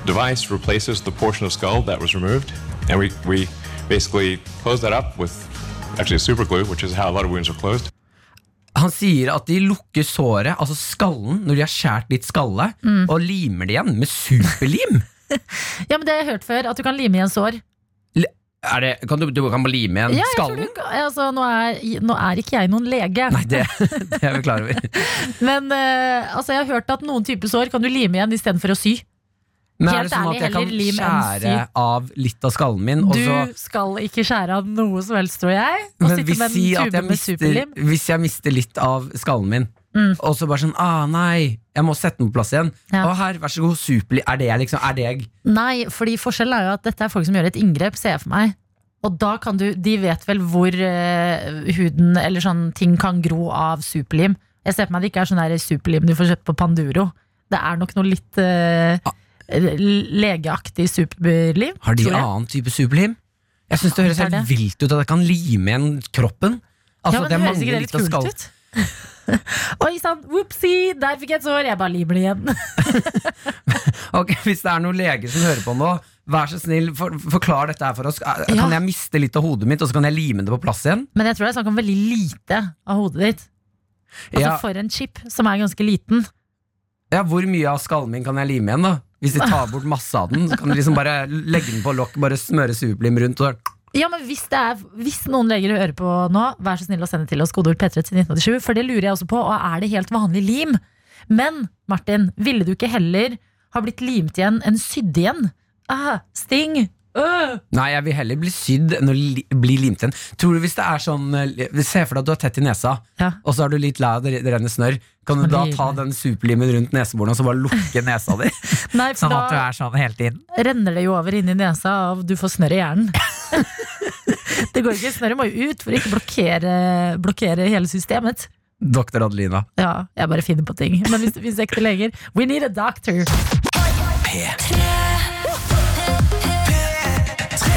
device replaces the portion of skull that was removed, and we, we basically close that up with actually super glue, which is how a lot of wounds are closed.
Han sier at de lukker såret, altså skallen, når de har skåret litt skalle,
Mm.
og limer det igjen med superlim.
Ja, men Det har jeg hørt før, at du kan lime igjen sår.
Er det, kan du, du kan bare lime igjen
Ja, jeg tror
skallen?
du, kan- altså, nå, er, nå er ikke jeg noen lege, [laughs]
Nei, det,
[laughs]
det er vi klar over.
men eh, altså, jeg har hørt at noen typer sår kan du lime igjen istedenfor å sy.
Men er
Helt
det sånn
ærlig,
at jeg kan
heller lim enn
skjære
syk.
av litt av skallen min, og så
Du skal ikke skjære av noe som helst, tror jeg. Og
men
sitte
hvis,
med
si
en
at
tube
jeg
med
mister,
superlim. Mm.
hvis jeg mister litt av skallen min, og så bare sånn ah, Nei, jeg må sette den på plass igjen.
Ja.
Å, her, vær så god, superlim. Er det jeg, liksom? Er det jeg?
Nei, fordi forskjellen er jo at dette er folk som gjør et inngrep, ser jeg for meg. Og da kan du, de vet vel hvor eh, huden eller sånn ting kan gro av superlim. Jeg ser for meg det ikke er sånn der superlim du får kjøpt på Panduro. Det er nok noe litt eh, legeaktig superlim.
Har de
[laughs] tror jeg.
annen type superlim? Jeg syns det høres
Antar
helt
det.
vilt ut at jeg kan lime igjen kroppen. Altså,
ja, men
det
det høres
mangler
ikke det
litt
litt
av
kult
skallen.
ut? [laughs] Oi sann, whoopsie, der fikk jeg et sår. Jeg bare limer det igjen. [laughs]
Ok, [laughs] Hvis det er noen leger som hører på nå, vær så snill, for, forklar dette her for oss. Er-
Ja.
Kan jeg miste litt av hodet mitt, og så kan jeg lime det på plass igjen?
Men jeg tror det er snakk om veldig lite av hodet ditt. Altså
Ja,
for en chip som er ganske liten.
ja, Hvor mye av skallen min kan jeg lime igjen, da? Hvis
[laughs]
de tar bort masse av den, så kan de liksom bare legge den på lokk, bare smøre superlim rundt. Og
Ja, men hvis, det er, hvis noen leger hører på nå, vær så snill å sende til oss kodeord P3 til 1987, for det lurer jeg også på. Og er det helt vanlig lim? Men Martin, ville du ikke heller ha blitt limt igjen enn sydd igjen? Ah, sting! Øh.
Nei, jeg vil heller bli sydd enn å li bli limt igjen. Tror du hvis det er sånn eh, Se for deg at du er tett i nesa,
Ja.
og så er du litt lei av det det renner snørr. Kan du da
Lime.
ta den superlimen rundt neseborene og så bare lukke nesa
[laughs]
di?
Nei, for
Sånn at du
da
er sånn hele tiden.
renner det jo over inni nesa av du får snørr i hjernen. [laughs] det går ikke, Snørret må jo ut for å ikke blokkere, blokkere hele systemet.
Doktor Adelina.
Ja, jeg bare finner på ting. Men hvis det finnes ekte leger We need a doctor!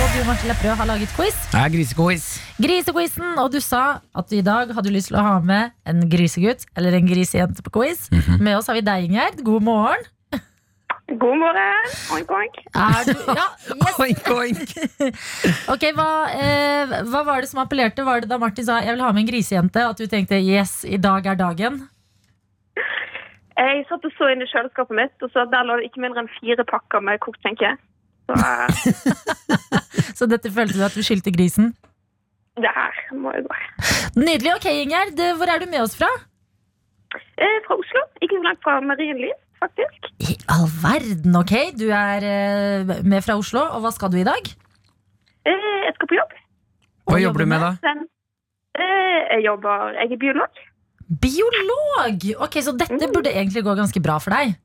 Og du, Martin Lepperød, har laget quiz.
Jeg er grisequiz.
Grisequizen, og du sa at du i dag hadde lyst til å ha med en grisegutt eller en grisejente på quiz. Med oss har vi deg, Ingjerd. God morgen.
God morgen. Oink, oink.
Er du, ja, yes.
Oink, oink.
Ok, hva, eh, hva var det som appellerte? Var det da Martin sa 'jeg vil ha med en grisejente', at du tenkte 'yes, i dag er dagen'?
Jeg satt og så inn i kjøleskapet mitt, og så der lå det ikke mindre enn fire pakker med kokt skinke. Så eh,
Så dette følte du at du skyldte grisen?
det her må jo gå.
Nydelig. Ok, Ingjerd, hvor er du med oss fra?
Eh, fra Oslo. Ikke så langt fra Marienlyst, faktisk.
I all verden, ok. Du er eh, med fra Oslo, og hva skal du i dag?
Eh, jeg skal på jobb.
Hva jobber du med, da?
Den, eh, jeg jobber Jeg er biolog.
Biolog! Ok, Så dette
Mm.
burde egentlig gå ganske bra for deg.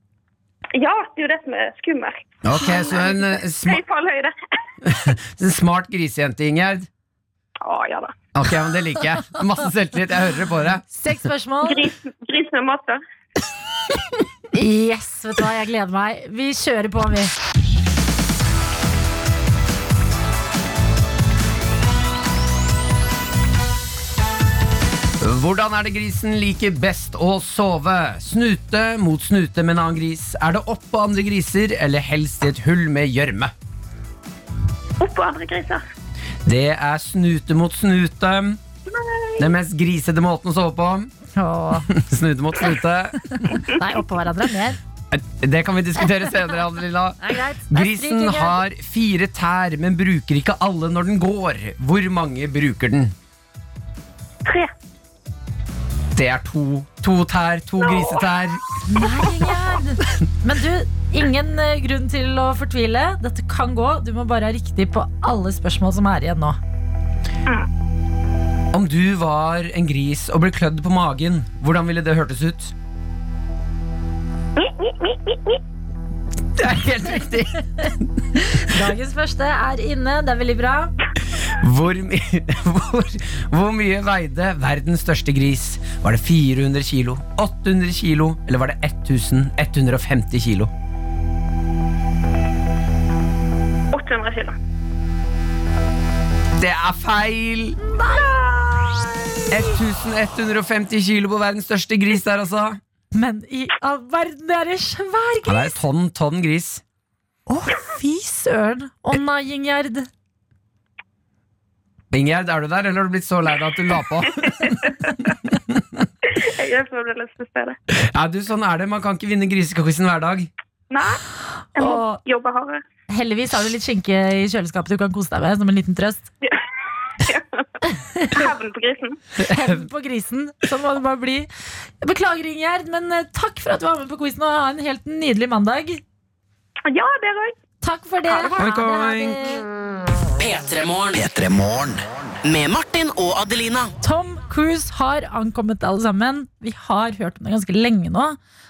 Ja, det er jo det som er skummelt.
Ok, Så en eh, sma
Høy fallhøyde.
en smart grisejente, Ingjerd.
Å, ja da.
Ok, men Det liker jeg. Masse selvtillit. Jeg hører det på deg. [laughs]
Seks spørsmål.
Gris, gris med master.
Yes, vet du hva, jeg gleder meg. Vi kjører på, vi.
Hvordan er det grisen liker best å sove? Snute mot snute med en annen gris. Er det oppå andre griser, eller helst i et hull med gjørme?
Oppå andre griser.
Det er snute mot snute. Den mest grisete måten å sove på. [laughs]
Åh.
Snute mot snute.
Nei, oppå hverandre. Mer.
Det kan vi diskutere senere, Adelina.
Det er greit. Nei, stryk,
Grisen
Ingjerd.
har fire tær, men bruker ikke alle når den går. Hvor mange bruker den?
Tre.
Det er to. To tær, to grisetær.
Nei, Ingjerd. Men du, ingen eh, grunn til å fortvile. Dette kan gå. Du må bare ha riktig på alle spørsmål som er igjen nå.
Om du var en gris og ble klødd på magen, hvordan ville det hørtes ut?
Mi, mi, mi, mi, mi.
Det er helt riktig.
Dagens første er inne. Det er veldig bra.
Hvor, my [laughs] hvor, hvor mye veide verdens største gris? Var det 400 kilo, 800 kilo, eller var det 1150 kilo?
800 kilo.
Det er feil! 1150 kilo på verdens største gris der, altså.
Men i all verden, det er en svær
Ja,
gris!
det er et tonn, tonn gris.
Å, fy søren! Å nei, Ingjerd.
Ingjerd, er du der, eller har du blitt så lei deg at du la på?
Jeg er fremdeles til stede.
Ja, du, sånn er det. Man kan ikke vinne grisekakisen hver dag.
Nei, jeg må
Åh.
jobbe hardere.
Heldigvis har du litt skinke i kjøleskapet du kan kose deg med som en liten trøst.
Hevn på grisen.
Hevn på grisen. Sånn må det bare bli. Beklager, Ingjerd, men eh, takk for at du var med på quizen, og ha en helt nydelig mandag.
Ja, dere òg.
Takk for det.
Oink, oink.
det.
P3morgen. P3morgen. Med Martin og Adelina.
Tom Cruise har ankommet alle sammen. Vi har hørt om det ganske lenge nå.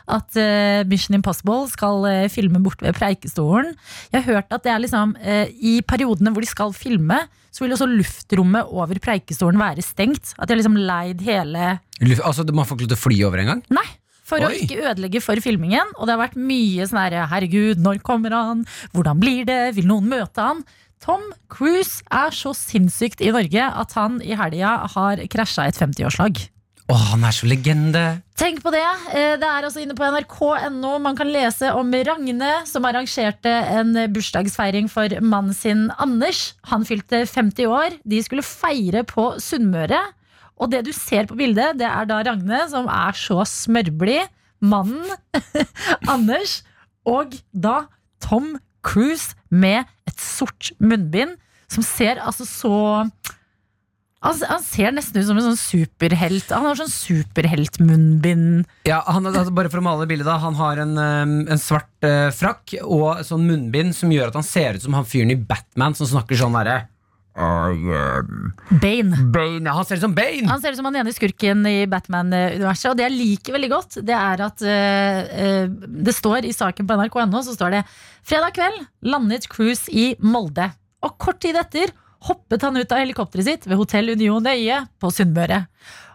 At eh, Mission Impossible skal eh, filme borte ved Preikestolen. Jeg har hørt at det er liksom eh, I periodene hvor de skal filme, så vil også luftrommet over Preikestolen være stengt. At de har liksom leid hele
Luff- Altså, Man får ikke lov til å fly over engang?
Nei! For å
Oi.
ikke ødelegge for filmingen. Og det har vært mye sånn herre Herregud, når kommer han? Hvordan blir det? Vil noen møte han? Tom Cruise er så sinnssykt i Norge at han i helga har krasja et 50-årslag.
Å, han er så legende!
Tenk på det. Eh, Det er altså inne på nrk.no. Man kan lese om Ragne, som arrangerte en bursdagsfeiring for mannen sin Anders. Han fylte 50 år. De skulle feire på Sunnmøre. Og det du ser på bildet, det er da Ragne, som er så smørblid. Mannen [laughs] Anders. Og da Tom Cruise med et sort munnbind, som ser altså så han, han ser nesten ut som en sånn superhelt. Han har sånn superheltmunnbind.
Ja, han, altså, bare for å male bildet da, Han har en, eh, en svart eh, frakk og sånn munnbind som gjør at han ser ut som han fyren i Batman som snakker sånn derre
Bane.
Bane. Han ser ut som Bane!
Han ser ut som han ene skurken i Batman-universet. Og det jeg liker veldig godt, det er at eh, eh, det står i saken på nrk.no så står det Fredag kveld landet Cruise i Molde. Og kort tid etter hoppet han ut av helikopteret sitt ved Hotell Union Øye på Sunnmøre.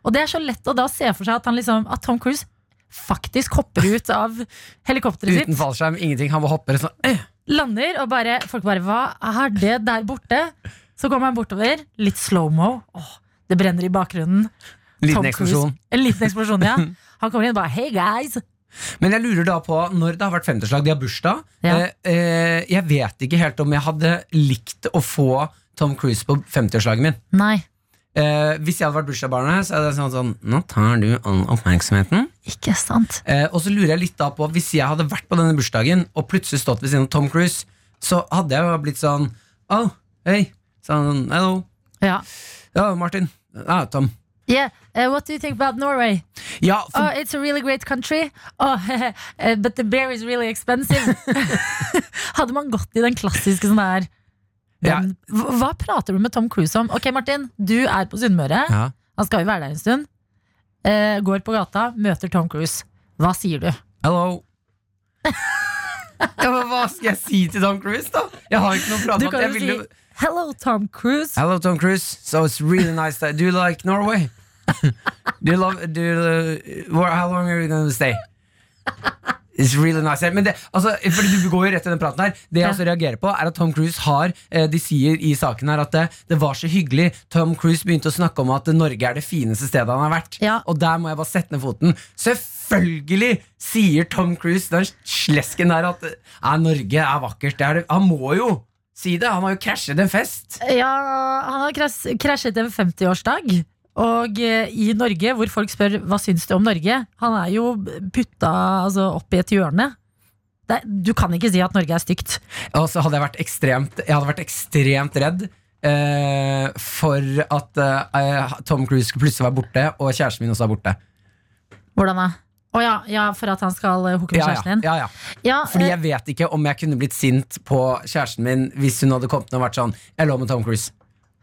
Og det er så lett å da se for seg at, han liksom, at Tom Cruise faktisk hopper ut av helikopteret
Uten
sitt.
fallskjerm, ingenting. Han var hopper sånn eh.
Lander, og bare, folk bare Hva er det der borte? Så kommer han bortover. Litt slow-mo. Åh, Det brenner i bakgrunnen. Tom
Liten
Cruise.
eksplosjon.
En liten eksplosjon,
[laughs]
ja. Han kommer inn og bare Hey guys!
Men jeg lurer da på når det har vært femteslag, de har bursdag.
Ja.
Eh, eh, jeg vet ikke helt om jeg hadde likt å få Tom Cruise på 50-årslaget min.
Nei,
Eh, hvis jeg hadde vært bursdagsbarnet, så hadde jeg sånn sånn Nå tar du all oppmerksomheten.
ikke sant.
Eh, og så lurer jeg litt da på Hvis jeg hadde vært på denne bursdagen og plutselig stått ved siden av Tom Cruise, så hadde jeg jo blitt sånn Oh, hei. Sånn, hello.
Ja.
Ja, Martin. Ja, Tom.
Yeah, uh, what do you think about Norway?
Ja, for
Oh, it's a really great country. Oh, [laughs] eh, but the beer is really
[laughs]
expensive. Hadde man gått i den klassiske sånn der
Ja.
den, hva, hva prater du med Tom Cruise om? Ok, Martin, du er på Sunnmøre.
ja.
Han skal jo være der en stund. Eh, går på gata, møter Tom Cruise. Hva sier du?
Hello. [laughs] ja, men hva skal jeg si til Tom Cruise, da? Jeg har ikke noe plan.
Du
om at
kan
jeg
jo si
ville-
'Hello, Tom Cruise'.
Hello, Tom Cruise. So it's really nice that do you like Norway? [laughs] do you love do you, uh, where, How long are you going to stay? It's really nice Men det, altså, fordi du går jo rett i den praten her Det jeg
Ja.
også reagerer på er at Tom Cruise har eh, De sier i saken her at det, det var så hyggelig Tom Cruise begynte å snakke om at Norge er det fineste stedet han har vært
Ja.
Og der må jeg bare sette ned foten Selvfølgelig sier Tom Cruise Den slesken der at «Nei, Norge er vakkert det er det. Han må jo si det, han har jo krasjet en fest
Ja, han har kras krasjet en 50-årsdag. Og eh, i Norge, hvor folk spør hva syns du om Norge, han er jo putta altså, opp i et hjørne. Det, er- du kan ikke si at Norge er stygt.
Og så hadde jeg vært ekstremt Jeg hadde vært ekstremt redd eh, For at eh, Tom Cruise skulle plutselig være borte Og kjæresten min også er borte
Hvordan da? Å ja, ja, for at han skal eh, hooke med
ja, ja,
kjæresten din?
ja, ja.
Ja,
Fordi
eh,
jeg vet ikke om jeg kunne blitt sint på kjæresten min Hvis hun hadde kommet og vært sånn Jeg lå med Tom Cruise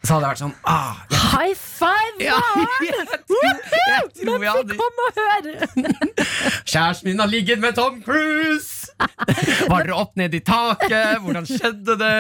Så hadde jeg vært sånn ah, jeg,
High five!
[laughs] ja, jeg, tror, jeg tror jeg hadde
Kom og hør!
Kjæresten min har ligget med Tom Cruise Var dere opp ned i taket? Hvordan skjedde det?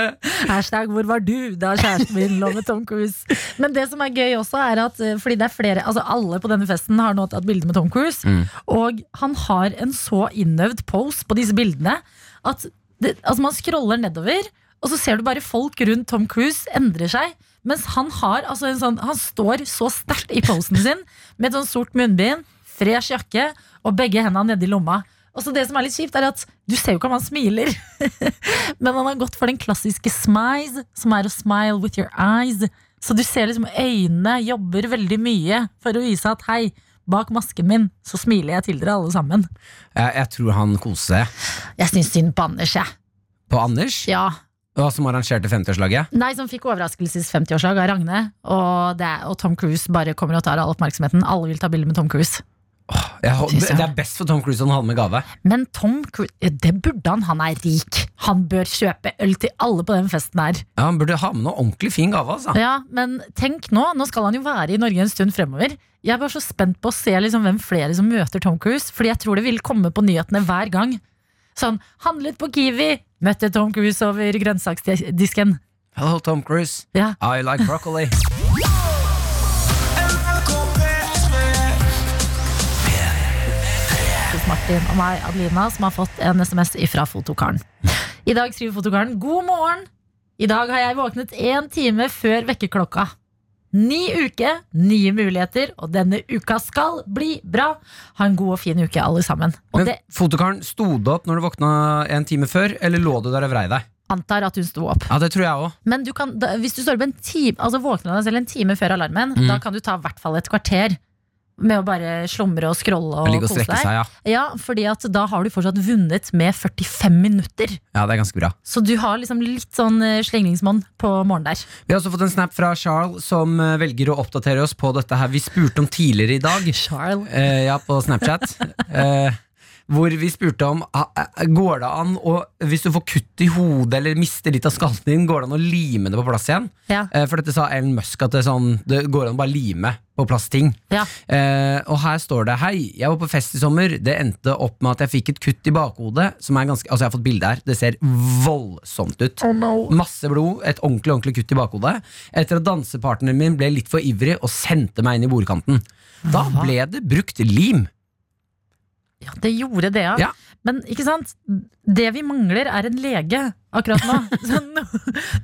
Hashtag 'hvor var du da kjæresten min lå med Tom Cruise'? Men det som er gøy også, er at eh, fordi det er flere Altså alle på denne festen har nå tatt bilde med Tom Cruise, og han har en så innøvd pose på disse bildene at det, altså man scroller nedover, og så ser du bare folk rundt Tom Cruise endrer seg. Mens han har altså en sånn Han står så sterkt i posen sin med et sånn sort munnbind, fresh jakke og begge hendene nedi lomma. Og så det som er litt kjipt, er at du ser jo ikke om han smiler. [laughs] Men han har gått for den klassiske smize, som er å smile with your eyes. Så du ser liksom øynene jobber veldig mye for å vise at hei, bak masken min så smiler jeg til dere alle sammen.
Jeg, Eh, jeg tror han koser seg
Jeg syns synd på Anders, jeg.
på Anders
Ja.
og Som arrangerte 50-årslaget
Nei, som fikk overraskelses 50-årslag av Ragne, og, det, og Tom Cruise bare kommer og tar all oppmerksomheten. Alle vil ta bilde med Tom Cruise.
Jeg, hå- det er best for Tom Cruise om han hadde med gave.
Men Tom Cruise, det burde han. Han er rik. Han bør kjøpe øl til alle på den festen her.
Ja, Han burde ha med noe ordentlig fin gave. altså
Ja, Men tenk nå, nå skal han jo være i Norge en stund fremover. Jeg er bare så spent på å se liksom hvem flere som møter Tom Cruise, fordi jeg tror det vil komme på nyhetene hver gang. Sånn, handlet på Kiwi, møtte Tom Cruise over grønnsaksdisken.
Hello, Tom Cruise.
Ja.
I like broccoli.
Chris Martin og meg, Adelina, som har fått en SMS fra fotokaren. I dag skriver fotokaren God morgen! I dag har jeg våknet én time før vekkerklokka. Ny uke, nye muligheter, og denne uka skal bli bra. Ha en god og fin uke, alle sammen. Og
Men
det
fotokaren sto du opp når du våkna en time før, eller lå du der og vrei deg?
antar at hun sto opp.
Ja, det tror jeg òg.
Men du kan, da, hvis du står opp en time, altså våkner deg selv en time før alarmen,
Mm.
da kan du ta i hvert fall et kvarter med å bare slumre og scrolle og,
Ligge og
kose
strekke
deg.
seg, ja.
Ja, fordi at da har du fortsatt vunnet med 45 minutter.
Ja, det er ganske bra.
Så du har liksom litt sånn eh, slingringsmonn på morgenen der.
Vi har også fått en snap fra Charles som eh, velger å oppdatere oss på dette her vi spurte om tidligere i dag.
Charles.
Eh, ja, på Snapchat.
[laughs]
Eh, hvor vi spurte om ah, eh, Går det an å Hvis du får kutt i hodet eller mister litt av skallen din, går det an å lime det på plass igjen?
Ja.
Eh, for dette sa Ellen Musk at det, er sånn, det går an å bare lime på plass ting.
Ja.
Eh, og her står det Hei, jeg var på fest i sommer. Det endte opp med at jeg fikk et kutt i bakhodet. Som er ganske, altså Jeg har fått bilde her. Det ser voldsomt ut.
Oh,
Masse blod. Et ordentlig ordentlig kutt i bakhodet. Etter at dansepartneren min ble litt for ivrig og sendte meg inn i bordkanten. Da
Hva?
ble det brukt lim.
ja, det gjorde det, ja.
Ja.
Men ikke sant? det vi mangler, er en lege akkurat
[laughs]
nå. Så no,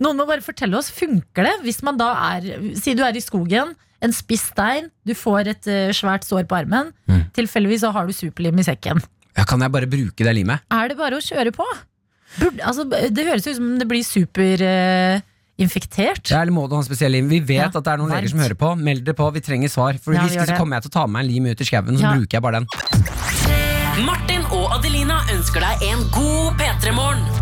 noen må bare fortelle oss, funker det hvis man da er Si du er i skogen, en spiss stein, du får et eh, svært sår på armen.
Mm.
Tilfeldigvis så har du superlim i sekken.
Ja, kan jeg bare bruke det limet?
Er det bare å kjøre på? Burde, altså, det høres ut som det blir eh, superinfektert.
Ja, eller må du ha en spesiell lim? Vi vet
Ja,
at det er noen leger som
varmt.
hører på. Meld dere på, vi trenger svar. For
Ja, vi
hvis
gjør
ikke så
det.
kommer jeg til å ta med meg en lim ut i skauen, så
Ja.
bruker jeg bare den.
Martin og Adelina ønsker deg en god P3-morgen.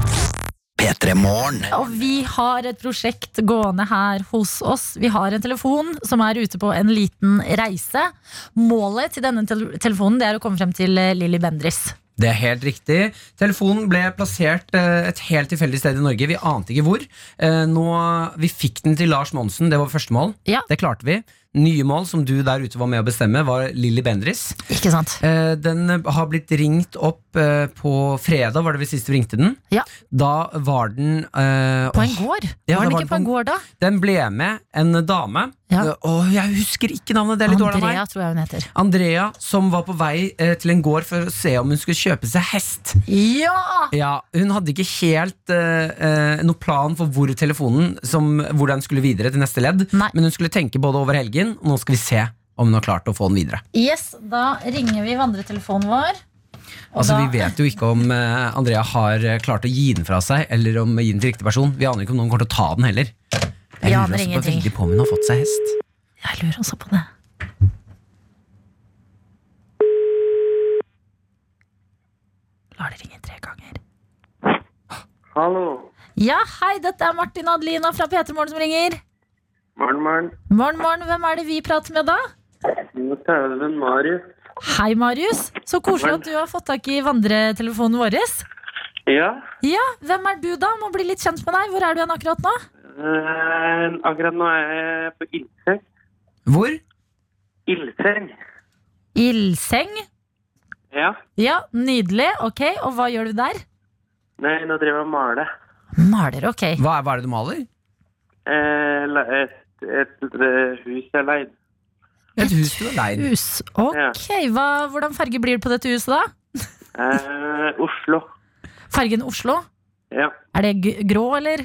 Og vi har et prosjekt gående her hos oss. Vi har en telefon som er ute på en liten reise. Målet til denne tel- telefonen det er å komme frem til eh, Lilly Bendris.
Det er helt riktig. Telefonen ble plassert eh, et helt tilfeldig sted i Norge. Vi ante ikke hvor. Eh, Nå, vi fikk den til Lars Monsen, det var første mål.
Ja.
Det klarte vi. Nye mål som du der ute var med å bestemme, var Lilly Bendris.
Ikke sant?
Eh, Den har blitt ringt opp eh, på fredag, var det vi sist vi ringte den.
Ja.
Da var den eh,
På en
åh,
gård?
Ja,
var
det
den
var
ikke på
den
en
på
gård da?
Den ble med en dame.
Ja.
Eh, Åh, jeg husker ikke navnet, det er litt dårlig av meg.
Andrea, tror jeg hun heter.
Andrea, som var på vei eh, til en gård for å se om hun skulle kjøpe seg hest.
Ja!
Ja, Hun hadde ikke helt eh, eh, noen plan for hvor telefonen som, hvordan den skulle videre til neste ledd.
Nei.
Men hun skulle tenke både over helgen, og nå skal vi se om hun har klart å få den videre.
Yes, da ringer vi vandretelefonen vår. Og
Altså,
da-
Vi vet jo ikke om eh, Andrea har eh, klart å gi den fra seg, eller om gi den til riktig person. Vi aner ikke om noen kommer til å ta den heller.
Vi
Jeg
aner
lurer også på
ingenting.
veldig på om hun har fått seg hest.
Jeg lurer også på det. Lar det ringe tre ganger.
Hallo.
Ja, hei, dette er Martin og Adelina fra P3 Morgen som ringer.
Morn, morn.
Morgen, morgen, hvem er det vi prater med da?
Nå taler den Marius.
Hei, Marius. Så koselig at du har fått tak i vandretelefonen vår.
Ja,
Ja, hvem er du da? Må bli litt kjent med deg. Hvor er du hen akkurat nå?
eh, akkurat nå er jeg på ildseng.
Hvor?
Ildseng?
Ildseng.
Ja.
Ja, nydelig. Ok, og hva gjør du der?
Nei, nå driver jeg og maler.
Maler, ok.
Hva er, hva er det du maler?
Eh, la- et, et, eh, hus jeg leid.
Et hus du har leid.
Hus. Ok, hva, hvordan farge blir det på dette huset da?
Eh, Oslo.
Fargen Oslo?
Ja,
Er det g- grå, eller?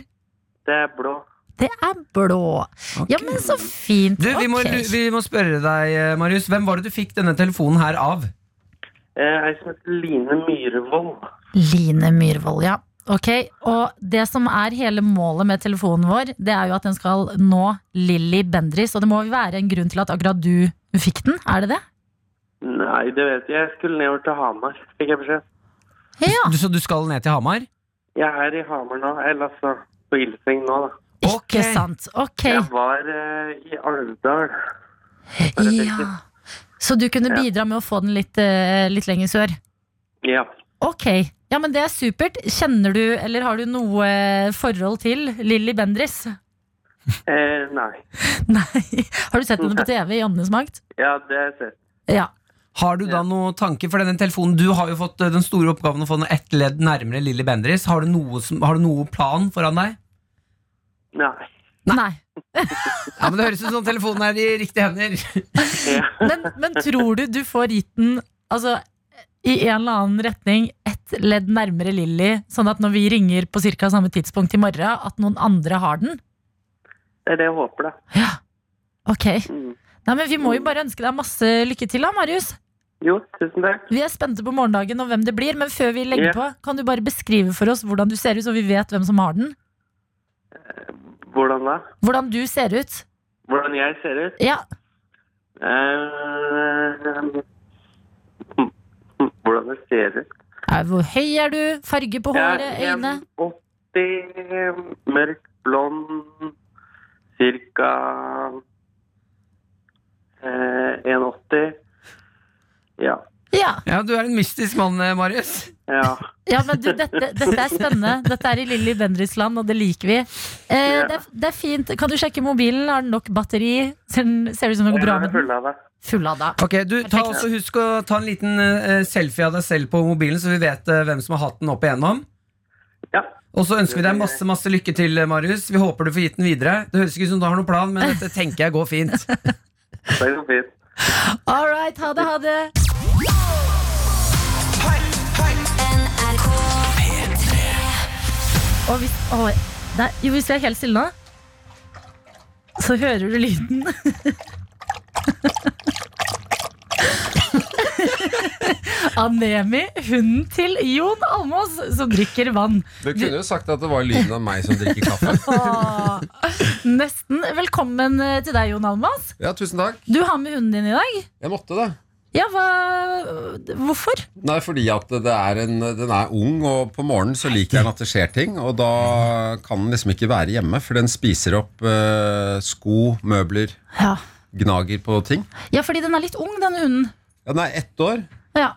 det er blå.
Det er blå. Ja, men så fint.
Du, vi må,
Ok.
lu- vi må spørre deg, eh, Marius. Hvem var det du fikk denne telefonen her av?
Eh, jeg som heter Line Myhrvold.
Line Myhrvold, ja. Ok, og Det som er hele målet med telefonen vår, det er jo at den skal nå Lilly Bendris. Og det må jo være en grunn til at akkurat du fikk den? Er det det?
Nei, det vet jeg. Jeg skulle nedover til Hamar, fikk jeg beskjed.
Ja.
Du, så du skal ned til Hamar?
Jeg er i Hamar nå, eller altså på ildseng nå, da.
Ok.
Ikke sant. Ok.
Jeg var eh, i Alvdal.
Ja. Så du kunne
Ja.
bidra med å få den litt, eh, litt lenger sør?
Ja.
Ok, ja, men det er supert. Kjenner du, eller har du noe eh, forhold til Lilly Bendris?
Eh, nei.
[laughs] Nei. Har du sett henne på TV i Åndenes makt?
Ja, det har jeg sett.
Ja.
Har du da noen tanker for denne telefonen? Du har jo fått eh, den store oppgaven å få den ett ledd nærmere Lilly Bendriss. Har du noe, som, har du noe plan foran deg?
Nei. [laughs]
Nei.
Ja, men Det høres ut som telefonen er i riktige hender.
Ja.
Men, men tror du du får gitt den altså, i en eller annen retning ett ledd nærmere Lilly, sånn at når vi ringer på ca. samme tidspunkt i morgen, at noen andre har den?
Det er det jeg håper, da.
Ok.
Mm.
Nei, men Vi må jo bare ønske deg masse lykke til, da, Marius.
Jo, tusen takk.
Vi er spente på morgendagen og hvem det blir, men før vi legger
Ja.
på, kan du bare beskrive for oss hvordan du ser ut, så vi vet hvem som har den?
Hvordan da?
Hvordan du ser ut?
Hvordan jeg ser ut?
Ja,
Eh, [laughs] hm, hm, hvordan jeg ser ut?
Eh, Hvor høy er du? Farge på håret?
Jeg er
Øyne?
1,80, mørk blond, cirka eh, 1,80. Ja.
Ja.
Ja, Du er en mystisk mann, eh, Marius.
Ja.
ja, men du, dette, dette er spennende. Dette er i Lilly Bendriss land, og det liker vi. Eh,
Ja.
det, er, det er fint. Kan du sjekke mobilen? Har den nok batteri? Ser, den, ser det ut som det går bra
Jeg er
med den?
full av det.
Fullada.
Ok, du ta
Perfekt.
også Husk å ta en liten eh, selfie av deg selv på mobilen, så vi vet eh, hvem som har hatt den opp igjennom.
Ja.
Og så ønsker vi deg masse masse lykke til, eh, Marius. Vi håper du får gitt den videre. Det høres ikke ut som du har noen plan, men dette tenker jeg går fint.
Det går fint.
All right, ha det, ha det. Og hvis, å, det er, jo, hvis vi er helt stille nå, så hører du lyden. [laughs] Anemi, hunden til Jon Almås, som drikker vann.
Du kunne jo sagt at det var lyden av meg som drikker
[laughs]
kaffe.
Åh, nesten. Velkommen eh, til deg, Jon Almås.
Ja, tusen takk.
Du har med hunden din i dag.
Jeg måtte det.
Ja, hva, hvorfor?
Nei, fordi at det er en, den er ung, og på morgenen så liker den at det skjer ting. Og da kan den liksom ikke være hjemme, for den spiser opp eh, sko, møbler,
Ja.
gnager på ting.
ja, fordi den er litt ung, denne hunden.
Ja, den er ett år,
Ja.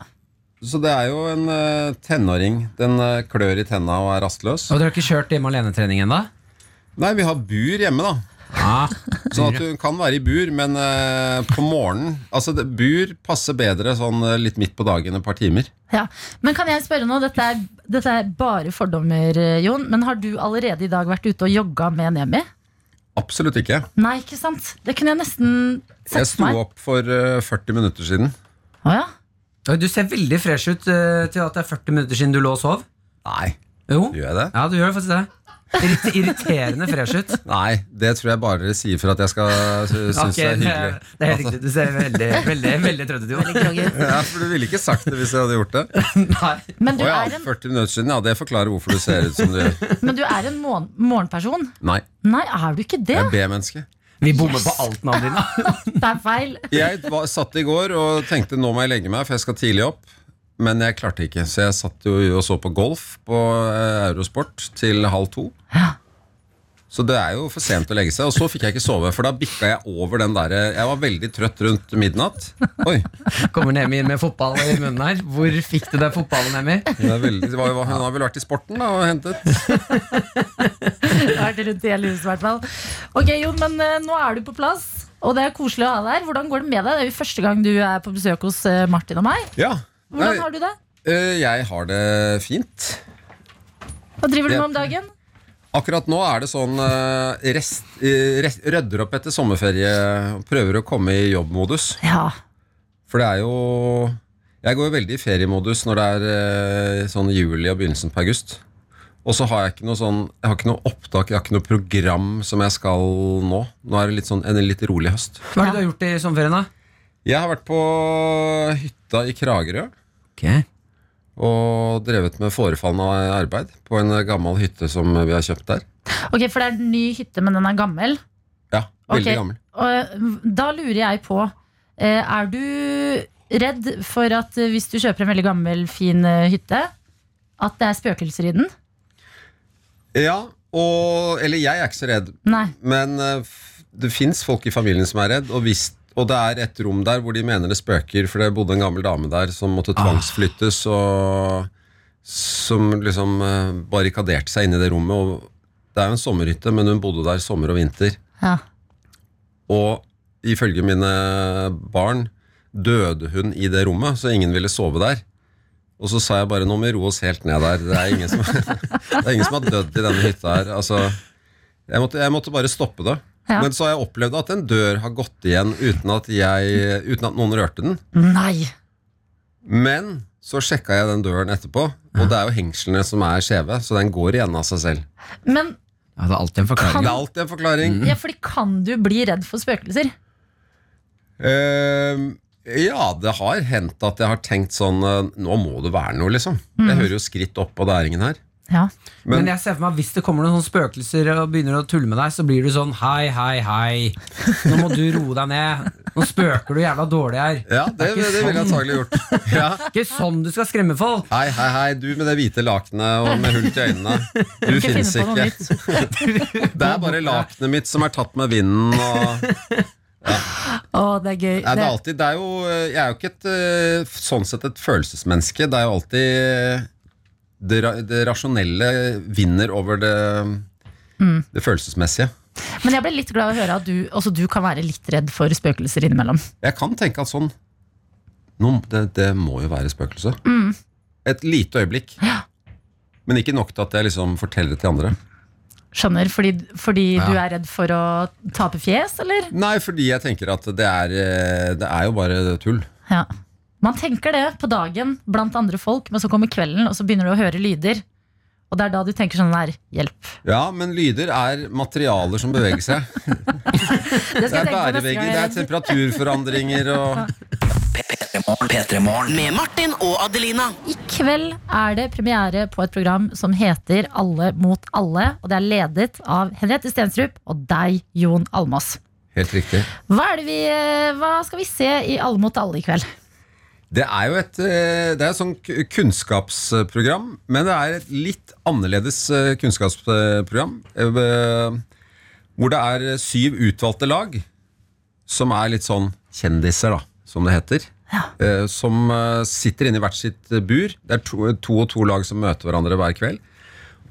så det er jo en eh, tenåring. Den eh, klør i tenna og er rastløs.
Og dere har ikke kjørt hjemme alene-trening ennå?
Nei, vi har bur hjemme, da.
Ja.
Sånn at hun kan være i bur, men eh, på morgenen Altså, det, bur passer bedre sånn eh, litt midt på dagen et par timer.
Ja. Men kan jeg spørre nå, dette er, dette er bare fordommer, eh, Jon, men har du allerede i dag vært ute og jogga med Nemi?
Absolutt ikke.
Nei, ikke sant? Det kunne jeg nesten
Jeg
sett
sto
for meg.
opp for eh, 40 minutter siden.
Å ja.
Oi, Du ser veldig fresh ut eh, til at det er 40 minutter siden du lå og sov.
Nei,
Jo.
gjør jeg det?
Ja, du gjør faktisk det. Irrit- irriterende fresh ut.
Nei, det tror jeg bare dere sier for at jeg skal øh, synes
Ok,
det er
det, [laughs] det
hyggelig.
er helt riktig. Du ser veldig, veldig, veldig trøtt ut, Jon.
Ja, for Du ville ikke sagt det hvis jeg hadde gjort det.
[laughs] Nei.
Men du
Å ja,
er en,
40 minutter siden, ja, det forklarer hvorfor du ser ut som du gjør.
men du er en morgen, morgenperson.
Nei,
Nei, er du ikke det?
jeg er B-menneske.
Vi bommer på alt, Nadina.
Det er feil. [laughs]
Jeg var, satt i går og tenkte nå må jeg legge meg, for jeg skal tidlig opp. Men jeg klarte ikke, så jeg satt jo og så på golf på eh, Eurosport til halv to. Så det er jo for sent å legge seg. Og så fikk jeg ikke sove, for da bikka jeg over den derre Jeg var veldig trøtt rundt midnatt. Oi,
Kommer Nemi inn med fotball i munnen her. Hvor fikk du deg fotballen, Nemi?
hun, er veldig, det var jo- hun har vel vært i sporten da og hentet.
Det har vært rundt i hele huset, i hvert fall. Ok, Jon, men eh, nå er du på plass. Og det er koselig å ha deg her. Hvordan går det med deg? Det er jo første gang du er på besøk hos eh, Martin og meg.
Ja. Nei,
Hvordan har du det?
eh, jeg har det fint.
Hva driver du
Det-
med om dagen?
Akkurat nå er det sånn eh, rest, eh, rest, Rødder opp etter sommerferie og prøver å komme i jobbmodus.
Ja.
For det er jo Jeg går jo veldig i feriemodus når det er eh, sånn juli og begynnelsen på august. Og så har jeg ikke noe sånn Jeg har ikke noe opptak, jeg har ikke noe program som jeg skal nå. Nå er det litt sånn en litt rolig høst.
Hva er det du har gjort i sommerferien, da?
Jeg har vært på hytta i Kragerø og drevet med forefallende arbeid på en gammel hytte som vi har kjøpt der.
Ok, For det er en ny hytte, men den er gammel.
Ja, veldig
Ok.
gammel.
Og eh, da lurer jeg på eh, Er du redd for at eh, hvis du kjøper en veldig gammel, fin eh, hytte, at det er spøkelser i den?
Ja, og Eller jeg er ikke så redd,
Nei.
Men eh, f- det fins folk i familien som er redd, og hvis Og det er et rom der hvor de mener det spøker, for det bodde en gammel dame der som måtte tvangsflyttes, og som liksom eh, barrikaderte seg inne i det rommet. Og det er jo en sommerhytte, men hun bodde der sommer og vinter.
Ja.
Og ifølge mine barn døde hun i det rommet, så ingen ville sove der. Og så sa jeg bare nå må vi roe oss helt ned der. Det er ingen som, [laughs] det er ingen som har dødd i denne hytta her. Altså, jeg, måtte, jeg måtte bare stoppe det.
Ja.
Men så har jeg opplevd at en dør har gått igjen uten at, jeg, uten at noen rørte den.
Nei!
Men så sjekka jeg den døren etterpå, og det er jo hengslene som er skjeve, så den går igjen av seg selv.
Men
Ja, det er alltid en
Det
forklaring.
er alltid en forklaring.
ja, fordi kan du bli redd for spøkelser?
Ehm, ja, det har hendt at jeg har tenkt sånn eh, Nå må det være noe, liksom.
Mm.
Jeg hører jo skritt opp, og det er ingen her.
Ja.
Men,
Men-
jeg ser for meg at hvis det kommer noen sånne spøkelser og begynner å tulle med deg, så blir du sånn hei, hei, hei. Nå må du roe deg ned. Nå spøker du jævla dårlig her.
Ja, det,
er
det,
ikke
ville jeg
sånn.
antagelig gjort. Ja.
Ikke sånn du skal skremme folk!
Hei, hei, hei, du med det hvite lakenet og med hull til øynene. Du
Ikke
finnes
finne på noe
ikke. [laughs] Det er bare lakenet mitt som er tatt med vinden. Og, nei,
Å, det er gøy.
det er alltid, det er jo, eh, jeg er jo ikke et, eh, sånn sett et følelsesmenneske. Det er jo alltid eh, det, ra- det rasjonelle vinner over det,
Mm.
det følelsesmessige.
Men jeg ble litt glad å høre at du, også du kan være litt redd for spøkelser innimellom.
Jeg kan tenke at sånn nå, det, det må jo være spøkelse.
Mm.
Et lite øyeblikk. Men ikke nok til at jeg liksom forteller det til andre.
Skjønner, Fordi, fordi du er redd for å tape fjes, eller?
Nei, fordi jeg tenker at det er, eh, det er jo bare tull.
Ja. Man tenker det på dagen blant andre folk, men så kommer kvelden, og så begynner du å høre lyder. Og det er da du tenker sånn her, hjelp.
Ja, men lyder er materialer som beveger seg.
Det skal jeg tenke på
Det er
neste
bærevegger,
gang jeg
det
er
er
redd.
temperaturforandringer og
Med Martin og Adelina.
I kveld er det premiere på et program som heter Alle mot alle, og det er ledet av Henriette Stensrup og deg, Jon Almås.
Helt riktig.
Hva, er det vi, eh, hva skal vi se i Alle mot alle i kveld?
Det er jo et, eh, det er et sånt k- kunnskapsprogram, men det er et litt annerledes eh, kunnskapsprogram. eh, Hvor det er syv utvalgte lag, som er litt sånn kjendiser, da, som det heter. eh, Som eh, sitter inne i hvert sitt eh, bur. Det er to, to og to lag som møter hverandre hver kveld.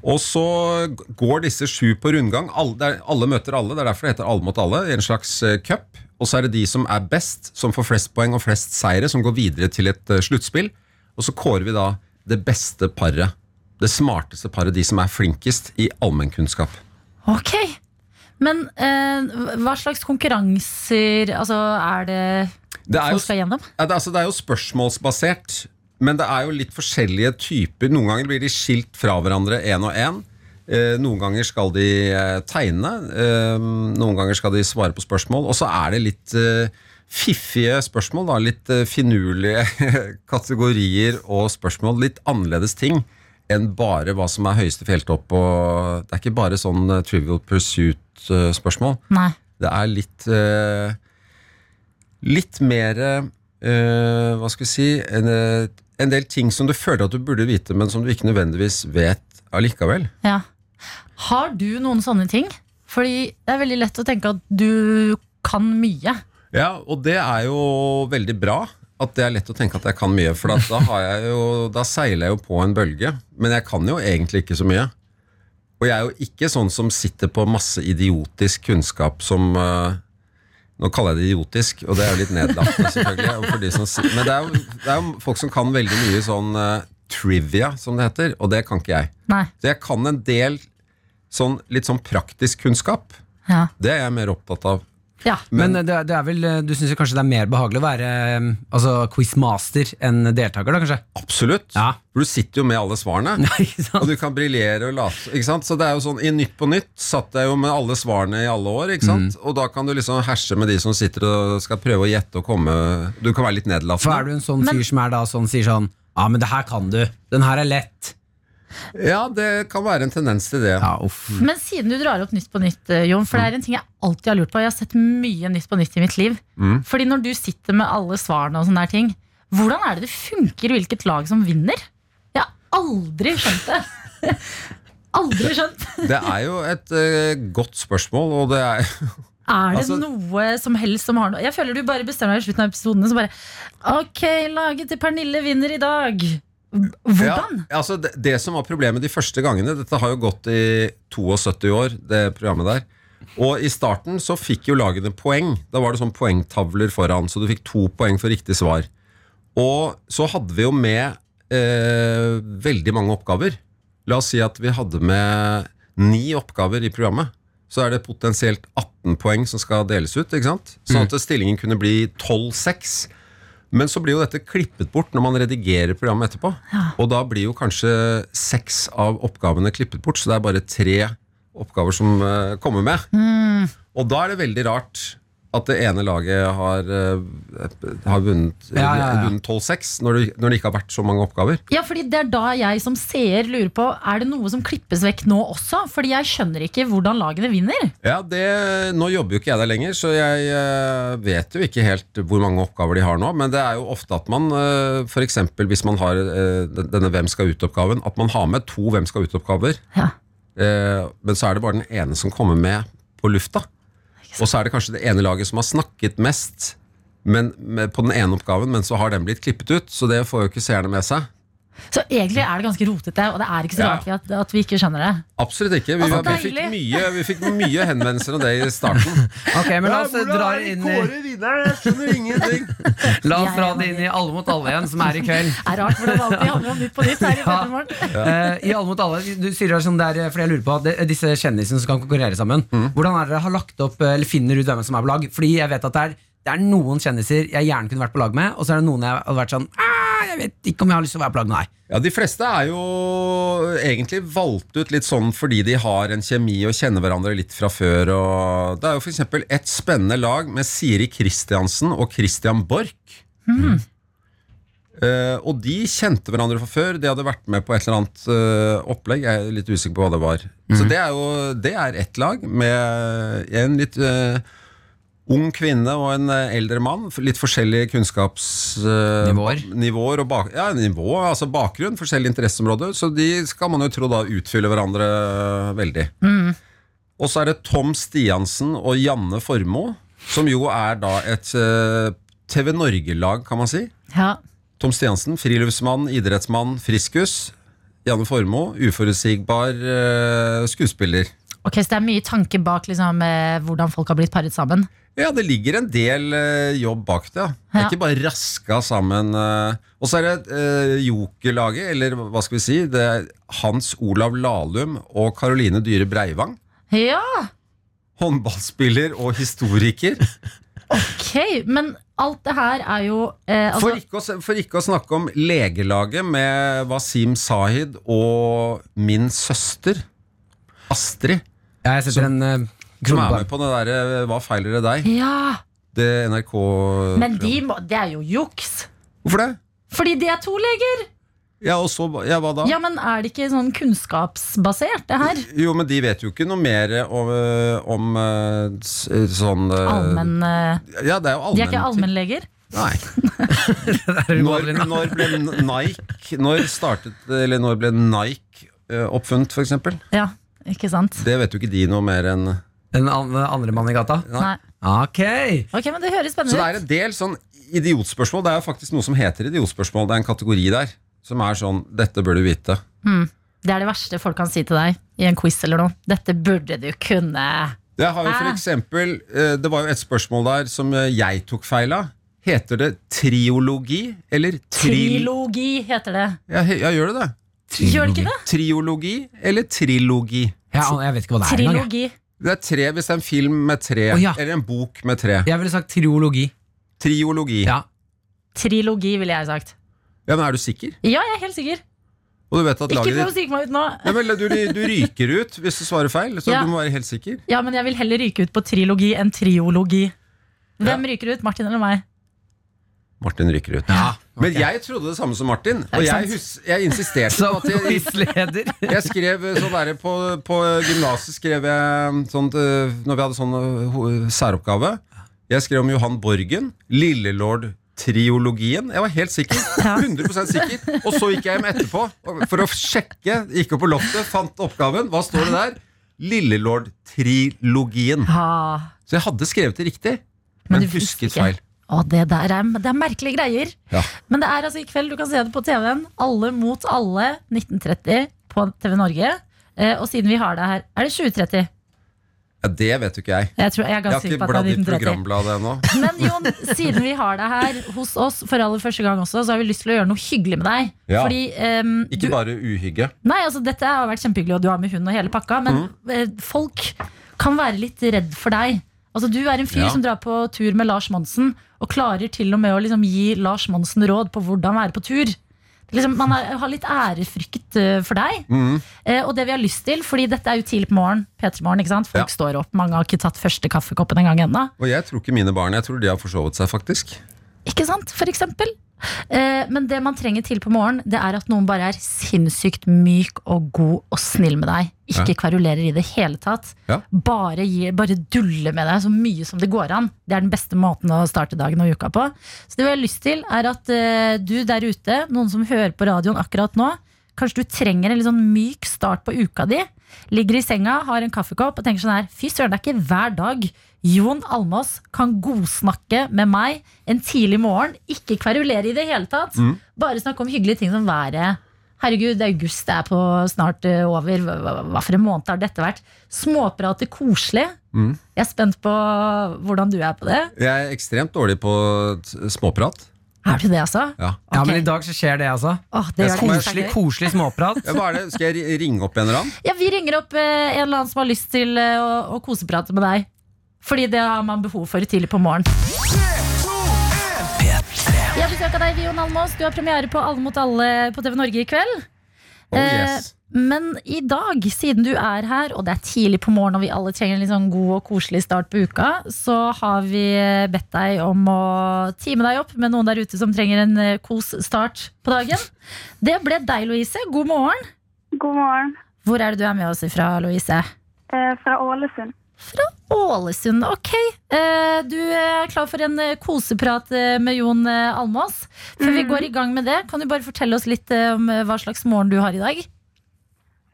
Og så g- går disse sju på rundgang. Alle, det er, alle møter alle. Det er derfor det heter Alle mot alle. i En slags eh, cup. Og så er det de som er best, som får flest poeng og flest seire, som går videre til et eh, sluttspill. Og så kårer vi da det beste paret. Det smarteste paret. De som er flinkest i allmennkunnskap.
Ok. Men eh, hva slags konkurranser altså, er det,
Det er jo
folk skal gjennom?
Ja, det, er- altså, det er jo spørsmålsbasert, men det er jo litt forskjellige typer. Noen ganger blir de skilt fra hverandre én og én. Eh, noen ganger skal de eh, tegne, eh, noen ganger skal de svare på spørsmål. Og så er det litt eh, fiffige spørsmål, da. litt eh, finurlige [laughs] kategorier og spørsmål. Litt annerledes ting enn bare hva som er høyeste fjelltopp. Og det er ikke bare sånn eh, trivial eh, pursuit-spørsmål.
Nei.
Det er litt eh, Litt mer eh, Hva skal vi si en, eh, en del ting som du føler at du burde vite, men som du ikke nødvendigvis vet allikevel.
Ja. Har du noen sånne ting? Fordi det er veldig lett å tenke at du kan mye.
Ja, og det er jo veldig bra. At det er lett å tenke at jeg kan mye, for at da, har jeg jo, da seiler jeg jo på en bølge. Men jeg kan jo egentlig ikke så mye. Og jeg er jo ikke sånn som sitter på masse idiotisk kunnskap som eh, Nå kaller jeg det idiotisk, og det er jo litt nedlatende, selvfølgelig. og For de som, si- men det er, jo, det er jo folk som kan veldig mye sånn eh, trivia, som det heter, og det kan ikke jeg.
Nei.
Så jeg kan en del sånn litt sånn praktisk kunnskap.
Ja.
Det er jeg mer opptatt av.
ja.
Men eh, det er, det er vel, du syns kanskje det er mer behagelig å være eh, altså, quizmaster enn deltaker, da kanskje?
Absolutt.
Ja.
For du sitter jo med alle svarene.
[laughs] Nei, [laughs] ikke
Og
sant?
du kan briljere og late ikke sant? Så det er jo sånn, I Nytt på Nytt satt jeg jo med alle svarene i alle år. ikke sant?
Mm.
Og da kan du liksom herse med de som sitter og skal prøve å gjette og komme Du kan være litt
For er
nedlatende.
du en sånn fyr som er da sånn, sier sånn Ja, men det her kan du. Den her er lett.
Ja, det kan være en tendens til det.
Ja, uff.
Men siden du drar opp Nytt på nytt, eh, Jon, for det er en ting jeg alltid har lurt på. Jeg har sett mye Nytt på nytt i mitt liv. Fordi når du sitter med alle svarene og sånne der ting, hvordan er det det funker hvilket lag som vinner? Jeg har aldri skjønt det. [laughs] aldri skjønt.
Det er jo et eh, godt spørsmål, og det er
Er det
Altså-
noe som helst som har noe Jeg føler du bare bestemmer deg i slutten av episodene. Så bare Ok, laget til Pernille vinner i dag. Hvordan?
Ja, altså det, det som var problemet de første gangene Dette har jo gått i 72 år, det programmet der. Og i starten så fikk jo lagene poeng. Da var det sånn poengtavler foran, så du fikk to poeng for riktig svar. Og så hadde vi jo med eh, veldig mange oppgaver. La oss si at vi hadde med ni oppgaver i programmet. Så er det potensielt 18 poeng som skal deles ut. ikke sant? Sånn at stillingen kunne bli 12-6. Men så blir jo dette klippet bort når man redigerer programmet etterpå. Og da blir jo kanskje seks av oppgavene klippet bort, så det er bare tre oppgaver som eh, kommer med.
Mm.
Og da er det veldig rart at det ene laget har, eh, har vunnet, eh,
Ja, ja, ja.
vunnet 12-6, når, det- når det ikke har vært så mange oppgaver.
Ja, fordi Det er da jeg som seer lurer på Er det noe som klippes vekk nå også. Fordi jeg skjønner ikke hvordan lagene vinner.
Ja, det, Nå jobber jo ikke jeg der lenger, så jeg eh, vet jo ikke helt hvor mange oppgaver de har nå. Men det er jo ofte at man f.eks. hvis man har eh, den- denne Hvem skal ut-oppgaven, at man har med to Hvem skal ut-oppgaver.
Ja.
Eh, Men så er det bare den ene som kommer med på lufta. Og så er det kanskje det ene laget som har snakket mest men, med, på den ene oppgaven, men så har den blitt klippet ut. Så det får jo ikke seerne med seg.
Så egentlig er det ganske rotete, og det er ikke så
Ja.
rart vi at, at vi ikke skjønner det.
Absolutt ikke. Vi,
Altså,
vi, fikk,
deilig.
mye, vi fikk mye henvendelser om det i starten.
Ok, men la oss eh, dra det inn i
vinneren? Jeg skjønner ingenting.
La oss dra det inn i Alle mot alle igjen, som er i kveld.
Det er rart hvordan det alltid handler om Nytt på Nytt. Her i
Ja.
Petremorgen.
Eh, I Alle mot alle, du sier det er sånn der, eh, fordi jeg lurer på det, disse kjendisene som kan konkurrere sammen. Hvordan er det dere har lagt opp, eh, eller finner ut hvem som er på lag? Fordi jeg vet at det er, det er noen kjendiser jeg gjerne kunne vært på lag med, og så er det noen jeg hadde vært sånn «Ah, Jeg vet ikke om jeg har lyst til å være på lag med deg.
Ja, De fleste er jo egentlig valgt ut litt sånn fordi de har en kjemi og kjenner hverandre litt fra før. Og det er jo f.eks. et spennende lag med Siri Kristiansen og Christian Borch. Eh, og de kjente hverandre fra før. De hadde vært med på et eller annet eh, opplegg. Jeg er litt usikker på hva det var. Så det er jo det er ett lag med en litt eh, ung kvinne og en eh, eldre mann. f- Litt eh, forskjellige kunnskapsnivåer.
Nivåer.
nivåer og bak, ja, nivå, altså bakgrunn, forskjellige interesseområder. Så de skal man jo tro da utfyller hverandre eh, veldig. Og så er det Tom Stiansen og Janne Formoe, som jo er da et eh, TV Norge-lag, kan man si.
Ja.
Tom Stiansen, friluftsmann, idrettsmann, friskus. Janne Formoe, uforutsigbar eh, skuespiller.
Ok, Så det er mye tanke bak liksom, eh, hvordan folk har blitt paret sammen.
Ja, det ligger en del eh, jobb bak det. ja. Det er
Ja.
ikke bare raska sammen. eh. Og så er det eh, jokerlaget, eller hva skal vi si, det er Hans Olav Lahlum og Karoline Dyhre Breivang.
Ja,
Håndballspiller og historiker.
ok Men alt det her er jo eh, [laughs] altså,
For ikke, å, s- for ikke å snakke om legelaget med Wasim Sahid og min søster Astrid,
Ja, jeg setter en eh,
som
krone
er
på
med
det.
på det derre 'Hva feiler det deg?'
Ja,
Det NRK
Men de må, det er jo juks.
Hvorfor det?
Fordi de er to leger!
Ja, og så, ja, hva da?
Ja, men Er det ikke sånn kunnskapsbasert, det her?
Jo, men de vet jo ikke noe mer om, øh, om øh, s- øh, sånn øh,
Allmenn, eh,
Ja, det er jo
de
allmenn.
er ikke allmennleger? [laughs]
Nei. Når, når ble Nike Når startet Eller når ble Nike øh, oppfunnet, for eksempel?
Ja, ikke sant?
Det vet jo ikke de noe mer enn
Den an- andre mannen i gata.
Nei.
Ok!
Ok, men Det høres
Så det
spennende ut.
er en del sånn idiotspørsmål. Det er jo faktisk noe som heter idiotspørsmål. Det er en kategori der som er sånn Dette bør du vite.
Det er det verste folk kan si til deg i en quiz eller noe. Dette burde du kunne.
Det, har jo for
Hæ?
eksempel, eh, det var jo et spørsmål der som eh, jeg tok feil av. Heter det triologi eller tril...
Trilogi heter det.
Ja, he- ja, gjør det det?
Gjør det ikke det?
Triologi eller trilogi?
Jeg, an- jeg vet ikke hva det er engang. jeg.
Trilogi.
Det er tre hvis det er en film med tre.
Å, ja.
Eller en bok med tre.
Jeg ville sagt triologi.
Triologi. Ja.
Ja.
Trilogi, ville jeg sagt.
men Er du sikker?
Ja, jeg er helt sikker.
Og du vet at
Ikke
laget
prøv å
ditt
sikte meg ut nå.
ja, men du, du ryker ut hvis du svarer feil, så
Ja.
du må være helt sikker.
Ja, men jeg vil heller ryke ut på trilogi enn triologi. Hvem ryker ut? Martin eller meg?
Martin ryker ut. Men jeg trodde det samme som Martin, og
ikke sant?
jeg, hus jeg insisterte
Som
på at
[laughs]
jeg,
quizleder.
jeg skrev sånn der, på, på gymnaset skrev jeg sånn, eh, Når vi hadde sånn eh, ho- særoppgave Jeg skrev om Johan Borgen Lillelord Triologien Jeg var helt sikker, 100% sikker Og så gikk jeg hjem etterpå og- For å sjekke, gikk opp på loftet Fant oppgaven, hva står det der? Lillelord Trilogien
Ha.
Så jeg hadde skrevet det riktig,
Men
men,
du visste
husket
ikke.
feil.
Å, det der er, det er merkelige greier.
Ja.
Men det er altså i kveld, du kan se det på TV-en. Alle mot alle 1930 på TV Norge. Eh, og siden vi har det her, er det 2030?
Ja, det vet jo ikke jeg.
Jeg, tror, jeg er
Jeg
ganske
har
sikker
ikke
på at
bladd
det er
i
1930.
programbladet ennå.
[laughs] Men Jon, siden vi har deg her hos oss for aller første gang også, så har vi lyst til å gjøre noe hyggelig med deg.
Ja.
Fordi ehm, du,
Ikke bare uhygge.
Nei, altså dette har vært kjempehyggelig, og du har med hund og hele pakka, men
Mm.
eh, folk kan være litt redd for deg. Altså Du er en fyr
Ja.
som drar på tur med Lars Monsen, og klarer til og med å liksom, gi Lars Monsen råd på hvordan være på tur. Det er Liksom, man er, har litt ærefrykt eh, for deg.
Mm.
Eh, og det vi har lyst til, fordi dette er jo tidlig på morgen, P3-morgen, ikke sant? Folk
Ja.
står opp, mange har ikke tatt første kaffekoppen en gang ennå.
Og jeg tror ikke mine barn Jeg tror de har forsovet seg, faktisk.
Ikke sant, for eksempel eh, Men det man trenger til på morgen Det er at noen bare er sinnssykt myk Og god og snill med deg Ikke kverulerer i det hele tatt
Ja.
bare, gi, bare dulle med deg så mye som det går an Det er den beste måten å starte dagen og uka på Så det vi har lyst til er at eh, Du der ute, noen som hører på radioen akkurat nå Kanskje du trenger en litt sånn myk start på uka di Ligger i senga, har en kaffekopp og tenker sånn her Fy søren, det er ikke hver dag Jon Almås kan godsnakke med meg en tidlig morgen. Ikke kverulere i det hele tatt. Bare snakke om hyggelige ting som været. Herregud, august er på snart eh, over. Hva, hva, hva for en måned har dette vært? Småprate koselig. Jeg er spent på hvordan du er på det.
Jeg er ekstremt dårlig på t- småprat.
Er du det, altså?
Ja.
Ja,
Ok.
men i dag så skjer det, altså.
Åh, det gjør det ekstra
Koselig,
gøy.
koselig småprat.
Ja, hva er det? Skal jeg ri- ringe opp en
[laughs]
eller annen?
Ja, vi ringer opp eh, en eller annen som har lyst til eh, å, å koseprate med deg. Fordi det har man behov for tidlig på morgenen. Vi har besøk av deg, Jon Almås. Du har premiere på Alle mot alle på TV Norge i kveld.
Oh, yes.
Eh, Men i dag, siden du er her, og det er tidlig på morgenen og vi alle trenger en litt sånn god og koselig start på uka, så har vi eh, bedt deg om å time deg opp med noen der ute som trenger en eh, kos start på dagen. Det ble deg, Louise. God morgen.
God morgen
Hvor er det du er med oss ifra, Louise?
eh, fra Ålesund.
Ålesund. Ok, eh, du er klar for en eh, koseprat eh, med Jon eh, Almås. Før
Mm.
vi går i gang med det, kan du bare fortelle oss litt eh, om eh, hva slags morgen du har i dag?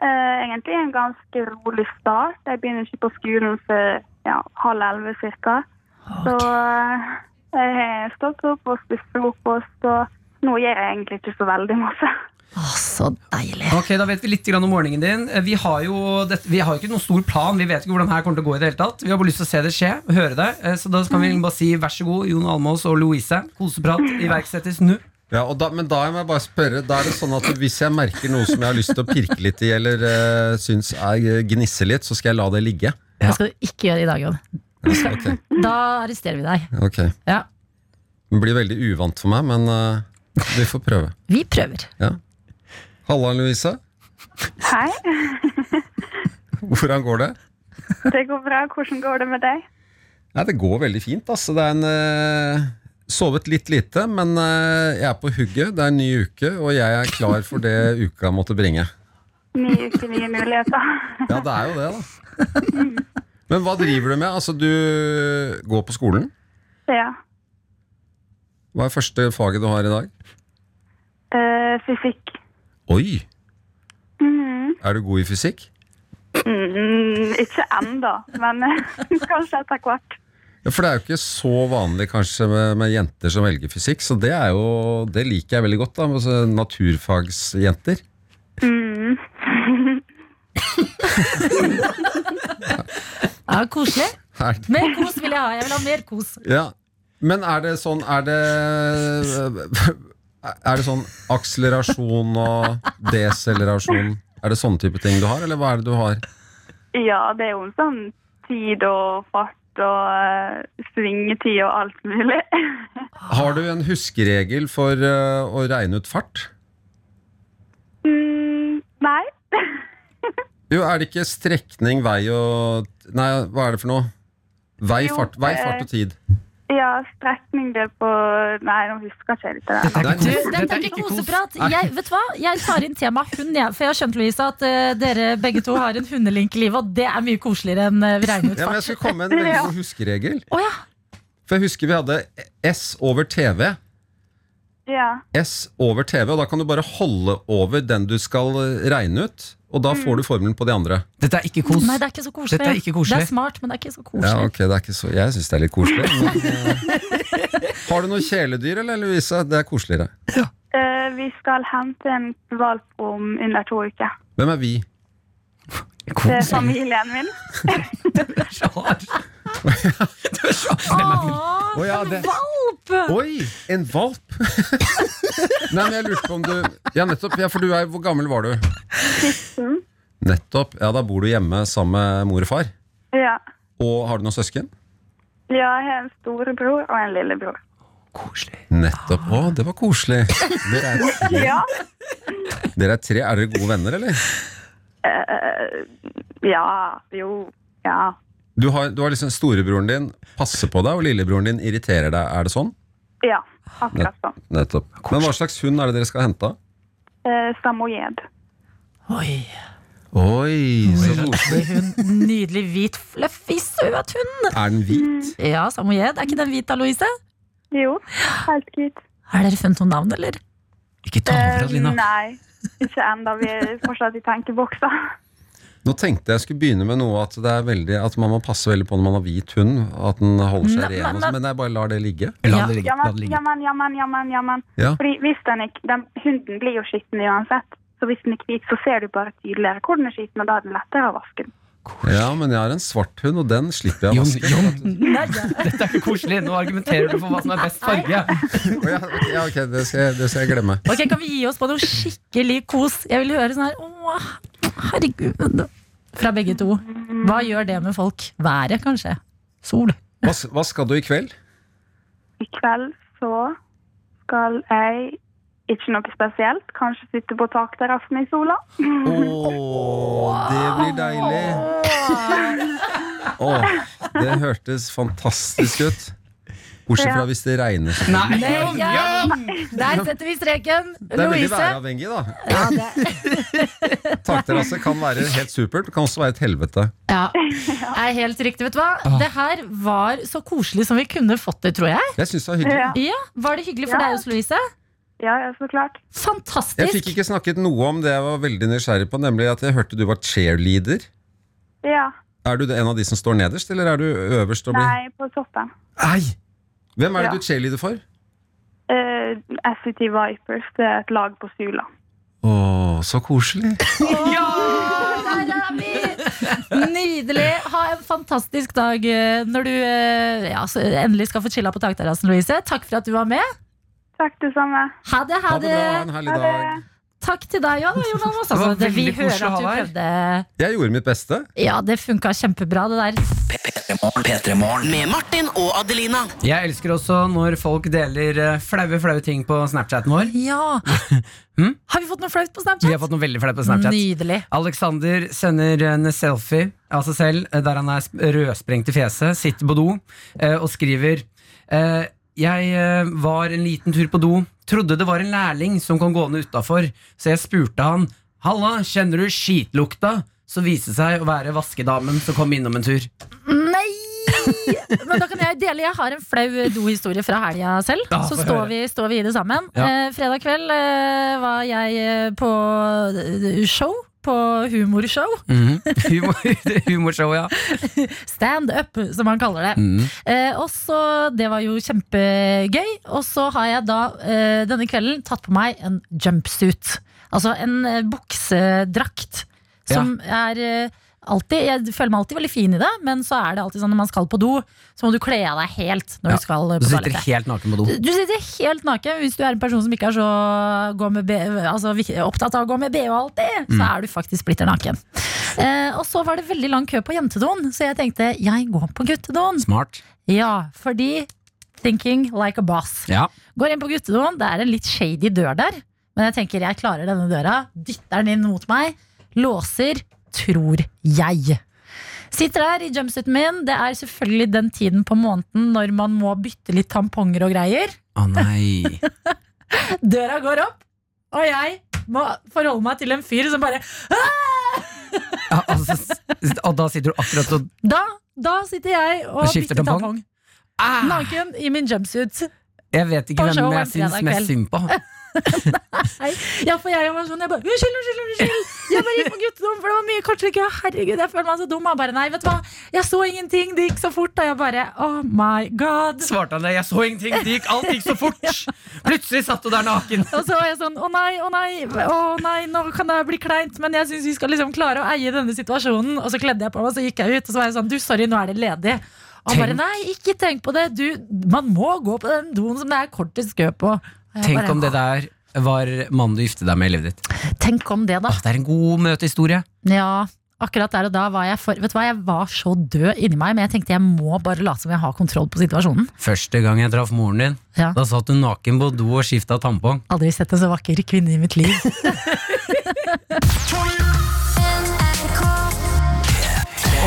Eh, egentlig en ganske rolig start. Jeg begynner ikke på skolen før ja, halv elleve cirka. Så eh, jeg har stått opp og spist frokost, og nå gjør jeg egentlig ikke så veldig masse.
Å, så deilig.
Ok, Da vet vi litt grann om morgenen din. Eh, Vi har jo dette- vi har jo ikke noen stor plan. Vi vet ikke hvordan det her kommer til å gå. i det hele tatt Vi har bare lyst til å se det skje og høre det. Eh, Så da kan
Mhm.
vi bare si vær så god, Jon Almås og Louise. Koseprat iverksettes nå.
Ja, og da, men da må jeg bare spørre Da er det sånn at hvis jeg merker noe som jeg har lyst til å pirke litt i, eller uh, syns er gnisser litt, så skal jeg la det ligge.
Det skal du ikke gjøre i dag, Jon.
Ok,
Da arresterer vi deg.
ok
Ja,
Det blir veldig uvant for meg, men eh, vi får prøve.
vi prøver.
Halla, Louise.
Hei,
Hvordan går det?
det går bra. Hvordan går det med deg?
Nei, det går veldig fint. Altså. Det er en eh, Sovet litt lite, men eh, jeg er på hugget. Det er en ny uke, og jeg er klar for det uka måtte bringe.
Ny uke, nye muligheter.
Ja, det er jo det, da. Men hva driver du med? Altså, du går på skolen.
ja.
Hva er første faget du har i dag?
Eh, fysikk.
Oi! Er du god i fysikk?
Mm, Mm-hmm. ikke enda, men eh, [laughs] kanskje etter hvert.
Ja, For det er jo ikke så vanlig kanskje med, med jenter som velger fysikk, så det, er jo, det liker jeg veldig godt. da, altså, Naturfagsjenter.
Ja, Koselig.
Er det-
Mer kos vil jeg ha. Jeg vil ha mer kos.
Ja. Men er det sånn Er det Er det sånn akselerasjon og deselerasjon? Er det sånne type ting du har, eller hva er det du har?
Ja, det er jo en sånn tid og fart og eh, svingetid og alt mulig. [laughs]
Har du en huskeregel for eh, å regne ut fart?
Mm, nei.
Jo, er det ikke strekning, vei og Nei, hva er det for noe? Vei,
Jo,
fart, vei,
eh,
fart og tid.
Ja, strekning det på Nei, nå husker jeg ikke helt det der.
Det er
Du,
kos-
dette er ikke koseprat. Jeg, vet du hva? jeg tar inn tema hund, jeg. For jeg har skjønt, Louise, at eh, dere begge to har en hundelink i livet, og det er mye koseligere enn uh, regnet
Ja, men jeg
fart.
skulle komme med en veldig god huskeregel.
Å ja.
For jeg husker vi hadde S over TV.
Ja.
S over TV, og da kan du bare holde over den du skal eh, regne ut, og da
Mm.
får du formelen på de andre.
Dette er ikke kos.
Nei, det er ikke så koselig.
Dette er ikke koselig.
Det er smart, men det er ikke så koselig.
Ja, ok, det er ikke så Jeg syns det er litt koselig.
[laughs]
Men, eh, har du noe kjæledyr, eller, Louise? Det er koseligere.
Eh, vi skal hente en valp om under to uker.
Hvem er vi?
Det er
sånn.
familien min.
Åh,
Å, ja,
en
det-
valp!
Oi, en valp! Nei, men jeg lurte på om du Ja, nettopp. Ja, for du er Hvor gammel var du? Nettopp. Ja, da bor du hjemme sammen med mor og far.
Ja.
Og har du noen søsken?
ja, jeg har en storebror og en lillebror.
Nettopp. Å, det var koselig. Dere
[laughs]
er tre.
Ja.
Dere er, tre. er dere gode venner, eller?
Eh, Ja, jo, ja.
Du har, du har liksom Storebroren din passer på deg, og lillebroren din irriterer deg. Er det sånn?
Ja, akkurat sånn.
Nettopp. Men hva slags hund er det dere skal hente?
Eh, Samoyed.
Oi,
Oi, så koselig.
hun nydelig hvit, fluffy, søt hund.
[laughs] Er den hvit?
Ja, samoyed. Er ikke den hvit da, Louise?
Jo, helt hvit.
Har dere funnet noe navn, eller?
Ikke ta over,
Eh,
Adelina.
nei, ikke ennå. Vi er fortsatt i tenkeboksa.
Nå tenkte jeg skulle begynne med noe at, det er veldig, at man må passe veldig på når man har hvit hund. At den holder
Nei,
seg ren, og
men-
sånn, men jeg bare lar det ligge.
La det ligge. La
Jammen,
det ligge.
jammen, jammen, jammen. jammen.
Ja.
Fordi hvis den er, den, Hunden blir jo skitten uansett. Så hvis den er hvit, så ser du bare tydeligere hvor den er skitten, og da er det lettere å vaske den.
ja, men jeg har en svart hund, og den slipper jeg å
Jon,
vaske.
Jon,
Nei, ja.
Dette er ikke koselig. Nå argumenterer du for hva som er best farge.
Å, ja, ok, ja, ok, det skal, jeg, det skal jeg glemme.
Ok, Kan vi gi oss på noe skikkelig kos? Jeg vil høre sånn her Åh, herregud. Fra begge to. Hva gjør det med folk? Været, kanskje? Sol?
Hva, s- hva skal du i kveld?
I kveld så skal jeg ikke noe spesielt. Kanskje sitte på takterrassen i sola.
Å, det blir deilig. Å, det hørtes fantastisk ut. Bortsett fra hvis det regner.
Nei,
ja. Der setter vi streken.
Det er veldig
Louise.
væravhengig, da. [laughs] Takterrasse kan være helt supert, det kan også være et helvete.
Ja, er helt riktig. Vet du hva?
Ah.
Det her var så koselig som vi kunne fått det, tror jeg.
Jeg syns det var hyggelig.
Ja.
Ja, Var det hyggelig for
Ja.
deg også, Louise?
Ja, ja, så klart.
Jeg fikk
Fantastisk.
ikke snakket noe om det jeg var veldig nysgjerrig på, nemlig at jeg hørte du var cheerleader.
Ja.
Er du en av de som står nederst, eller er du øverst og blir
Nei, på toppen.
Nei! Hvem er
Ja.
det du cheerleader for?
Uh, SCT Vipers, det er et lag på Sula.
Å, så koselig.
Der er vi! Nydelig. Ha en fantastisk dag eh, når du eh, ja, så endelig skal få chilla på takterrassen, Louise. Takk for at du var med.
Takk, det samme.
Ha det, ha
Ha det
det.
bra, ha en herlig
Ha det.
dag.
Takk til deg òg, Jonas. Altså,
Det var
vi
veldig
hører
koselig å
at du
ha deg
prøvde.
Jeg gjorde mitt beste.
Ja, det funka kjempebra, det der.
Med Martin og Adelina.
Jeg elsker også når folk deler eh, flaue, flaue ting på Snapchaten vår.
[laughs] Ja.
Mm?
Har vi fått noe flaut på
Vi har
Snapchat?
fått noe veldig flaut på Snapchat.
Nydelig.
Alexander sender en selfie av seg selv eh, der han er sp- rødsprengt i fjeset, sitter på do eh, og skriver eh, Jeg eh, var en liten tur på do, trodde det var en lærling som kom gående utafor, så jeg spurte han Halla, kjenner du skitlukta? Så viste det seg å være vaskedamen som kom innom en tur.
Nei! Men da kan jeg dele. Jeg har en flau dohistorie fra helga selv.
Ja,
så
få
står
høre.
vi, står vi i det sammen.
Ja.
Eh, fredag kveld eh, var jeg eh, på eh, show. På humorshow.
Humor, humorshow, [laughs] ja.
Stand up, som han kaller det.
Mm.
Eh, og så, Det var jo kjempegøy. Og så har jeg da eh, denne kvelden tatt på meg en jumpsuit. Altså en eh, buksedrakt som er eh, alltid Jeg føler meg alltid veldig fin i det, men så er det alltid sånn når man skal på do, så må du kle av deg helt når
Ja,
du skal eh,
Du
på
sitter
toalettet.
helt naken på do.
Du sitter helt naken hvis du er en person som ikke er så gå med B, altså, vik- opptatt av å gå med BH alltid. Så er du faktisk splitter naken. Eh, og så var det veldig lang kø på jentedoen, så jeg tenkte jeg går på guttedoen.
Smart.
Ja, fordi thinking like a boss.
Ja.
Går inn på guttedoen, det er en litt shady dør der. Men jeg tenker jeg klarer denne døra, dytter den inn mot meg, låser, tror jeg. Sitter der i jumpsuiten min. Det er selvfølgelig den tiden på måneden når man må bytte litt tamponger og greier.
Å nei.
Døra går opp, og jeg må forholde meg til en fyr som bare
Ja, altså, s- og da sitter du akkurat og
Da, da sitter jeg og
Du skifter
bytter
tampong?
tampong.
ah!
Naken i min jumpsuit.
Jeg vet ikke
På
hvem
show en
jeg syns
fredag kveld.
mest synd på.
Nei. Ja, for jeg var sånn, jeg bare Unnskyld, unnskyld, unnskyld! Jeg bare gikk på gutterommet, for det var mye kortere kø. Herregud, jeg føler meg så dum. Han bare nei, vet du hva, jeg så ingenting, det gikk så fort. Og jeg bare oh my god.
Svarte han det? Jeg så ingenting, det gikk, alt gikk så fort! Plutselig satt du der naken.
Og så var jeg sånn å nei, å nei, å nei, nå kan det bli kleint, men jeg syns vi skal liksom klare å eie denne situasjonen. Og så kledde jeg på meg, og så gikk jeg ut, og så var jeg sånn du, sorry, nå er det ledig. Og han bare
Tenk.
nei, ikke tenk på det, du, man må gå på den doen som det er kortest kø på. Og jeg
Tenk
bare,
om det der var mannen du giftet deg med i livet ditt.
Tenk om det, da.
Åh, det er en god møtehistorie.
Ja, akkurat der og da var jeg for Vet du hva, jeg var så død inni meg, men jeg tenkte jeg må bare late som jeg har kontroll på situasjonen.
Første gang jeg traff moren din,
Ja.
da satt hun naken på do og skifta tampong.
Aldri sett en så vakker kvinne i mitt liv.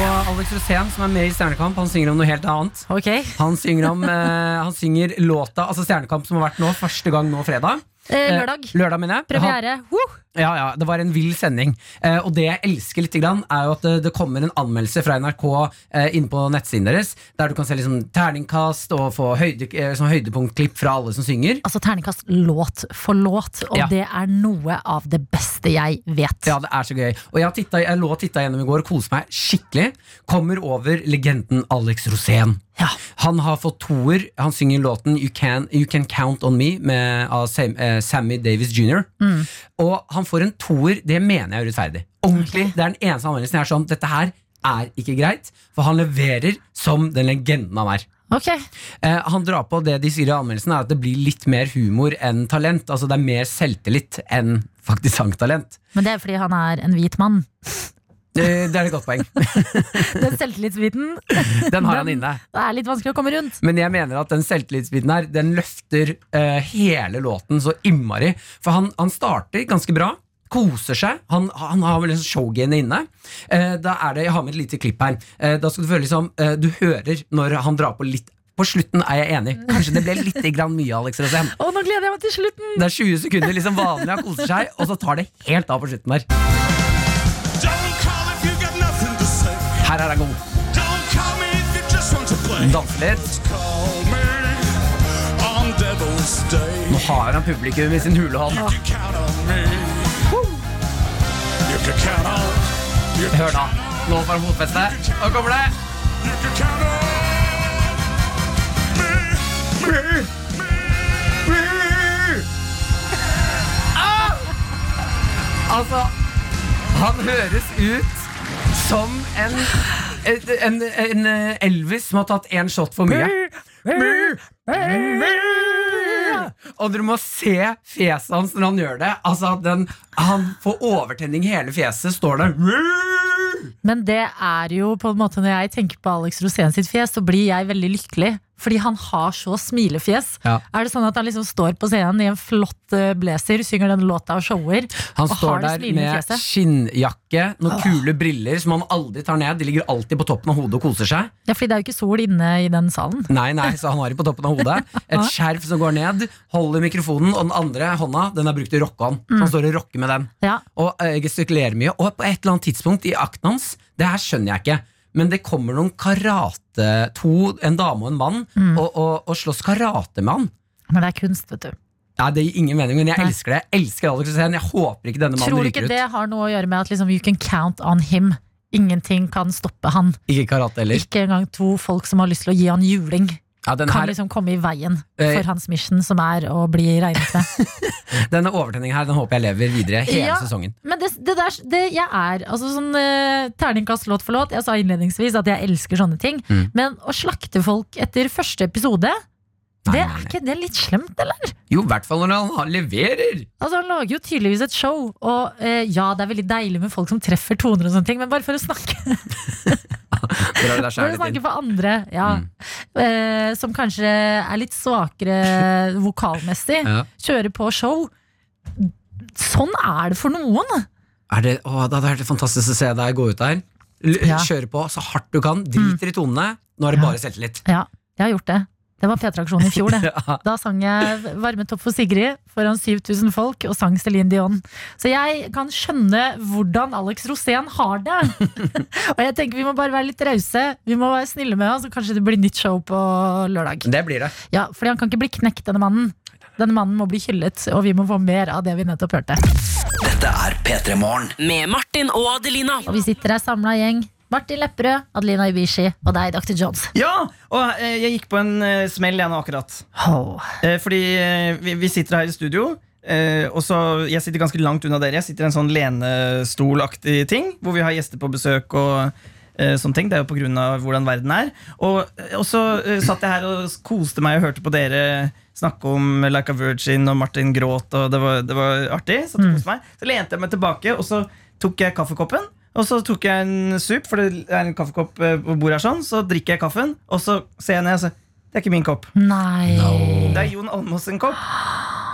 Og Alex Rosén, som er med i Stjernekamp, han synger om noe helt annet. [laughs]
Ok,
Han synger, om, eh, han synger låta, altså Stjernekamp som har vært nå, første gang nå fredag.
eh,
Eh,
Lørdag.
Lørdag, mener jeg. Han-
Premiere. Woo!
Ja, ja, det var en vill sending. Eh, og det jeg elsker litt, grann, er jo at det, det kommer en anmeldelse fra NRK eh, inne på nettsiden deres, der du kan se liksom, terningkast og få høyde, eh, sånn høydepunktklipp fra alle som synger.
Altså terningkast låt for låt, og
Ja.
det er noe av det beste jeg vet.
Ja, det er så gøy. Og jeg, har tittet, jeg lå og titta gjennom i går og koste meg skikkelig. Kommer over legenden Alex Rosén.
Ja.
Han har fått toer. Han synger låten You Can, you can Count On Me med, av Sam, eh, Sammy Davis jr.
Mm.
Og han får en toer. Det mener jeg er urettferdig. Ordentlig, Det er den eneste anmeldelsen jeg er sånn Dette her er ikke greit, for han leverer som den legenden han er.
Ok,
Eh, han drar på det de sier i anmeldelsen, er at det blir litt mer humor enn talent. Altså det er mer selvtillit enn faktisk sangtalent.
Men det er fordi han er en hvit mann.
Eh, det er et godt
[laughs]
poeng.
Den selvtillitsbiten
Den har [laughs] han inne.
det er litt vanskelig å komme rundt.
Men jeg mener at den selvtillitsbiten her Den løfter eh, hele låten så innmari. For han, han starter ganske bra. Koser seg. Han, han har vel en sånn showgene inne. Eh, da er det, Jeg har med et lite klipp her. Eh, da skal du føle liksom eh, Du hører når han drar på litt. På slutten er jeg enig. Kanskje det ble litt grann mye, Alex Rosem.
Å, nå gleder jeg meg til slutten!
Det er 20 sekunder liksom vanlig, han koser seg, og så tar det helt av på slutten der. Her er han god. Danser litt. Nå har han publikum i sin hulehånd. Hør da. Nå får han fotfeste. Nå kommer det. Altså, han høres ut som en, en, en, en eh, Elvis som har tatt én shot for mye. Og dere må se fjeset hans når han gjør det. Altså, den, Han får overtenning i hele fjeset. Står der.
Men det er jo på en måte Når jeg tenker på Alex Rosén sitt fjes, så blir jeg veldig lykkelig. Fordi han har så smilefjes.
Ja.
Er det sånn at han liksom står på scenen i en flott eh, blazer, synger den låta og shower?
Han
og
står
har det
der
smilende
med
fjeset?
skinnjakke,
Ah.
noen kule briller som han aldri tar ned. De ligger alltid på toppen av hodet og koser seg.
Ja, fordi det er jo ikke sol inne i den salen.
Nei, nei, så han har det på toppen av hodet. Et skjerf som går ned, holder mikrofonen, og den andre hånda den er brukt til å rocke han.
Mm.
Så han står og rocker med den.
Ja.
Og eh, gestikulerer mye. Og på et eller annet tidspunkt i akten hans, det her skjønner jeg ikke, men det kommer noen karate To, en dame og en mann,
Mm.
Mm.
og, og, og slåss karate med han.
Men det er kunst, vet du.
Nei, det gir ingen mening, men jeg
Nei.
elsker det. Jeg elsker Alex Rosén. Jeg håper ikke denne mannen
Tror du ikke
ryker ut.
det har noe å gjøre med at liksom, you can count on him? Ingenting kan stoppe han.
Ikke karate heller.
Ikke engang to folk som har lyst til å gi han juling,
Ja, den
kan
her,
liksom komme i veien
Eh.
for hans mission, som er å bli regnet
[laughs]
med.
denne overtenningen her, den håper jeg lever videre hele
Ja.
sesongen.
Men det, det der, det jeg er altså sånn eh, Terningkast låt for låt. Jeg sa innledningsvis at jeg elsker sånne ting.
Mm.
Men å slakte folk etter første episode,
Nei,
det
nei,
er
nei.
ikke det litt slemt, eller?
Jo, i hvert fall når han- han leverer!
Altså Han lager jo tydeligvis et show, og eh, ja, det er veldig deilig med folk som treffer toner og sånne ting, men bare for å
[laughs]
snakke,
Dere har det der
for, å
skjæret inn.
snakke for andre, ja.
Mm.
Eh, som kanskje er litt svakere vokalmessig,
Ja.
kjører på show. Sånn er det for noen.
er det, å, det hadde vært fantastisk å se deg gå ut der. L
Ja. Mm.
Kjøre på så hardt du kan, driter i tonene. Nå er det
Ja.
bare selvtillit.
Ja, jeg har gjort det. Det var P3-aksjonen i fjor, det. Da sang jeg varmet opp for Sigrid foran 7000 folk og sang Céline Dion. Så jeg kan skjønne hvordan Alex Rosén har det. og jeg tenker vi må bare være litt rause. Vi må være snille med han, så kanskje det blir nytt show på lørdag.
Det blir det.
Ja, fordi han kan ikke bli knekt, denne mannen. Denne mannen må bli hyllet, og vi må få mer av det vi nettopp hørte.
Dette er P3 Morgen.
Med Martin og Adelina.
Og vi sitter her samla gjeng. Martin Lepperød, Adelina Ibishi og deg, Dr. Jones.
Ja, og eh, jeg gikk på en eh, smell jeg nå akkurat.
Oh.
Eh, Fordi eh, vi, vi sitter her i studio. eh, og så, Jeg sitter ganske langt unna dere. Jeg sitter i en sånn lenestolaktig ting, hvor vi har gjester på besøk. og eh, Sånne ting, Det er jo på grunn av hvordan verden er. Og, og så eh, satt jeg her og koste meg og hørte på dere snakke om Like a Virgin og Martin gråt. Og det var, det var artig Så, det koste meg. så lente jeg meg tilbake, og så tok jeg kaffekoppen. Og så tok jeg en sup, for det er en kaffekopp eh, på bordet her sånn. Så drikker jeg kaffen, og så ser jeg ned og så Det er ikke min kopp.
Nei.
Det er Jon Almås sin kopp.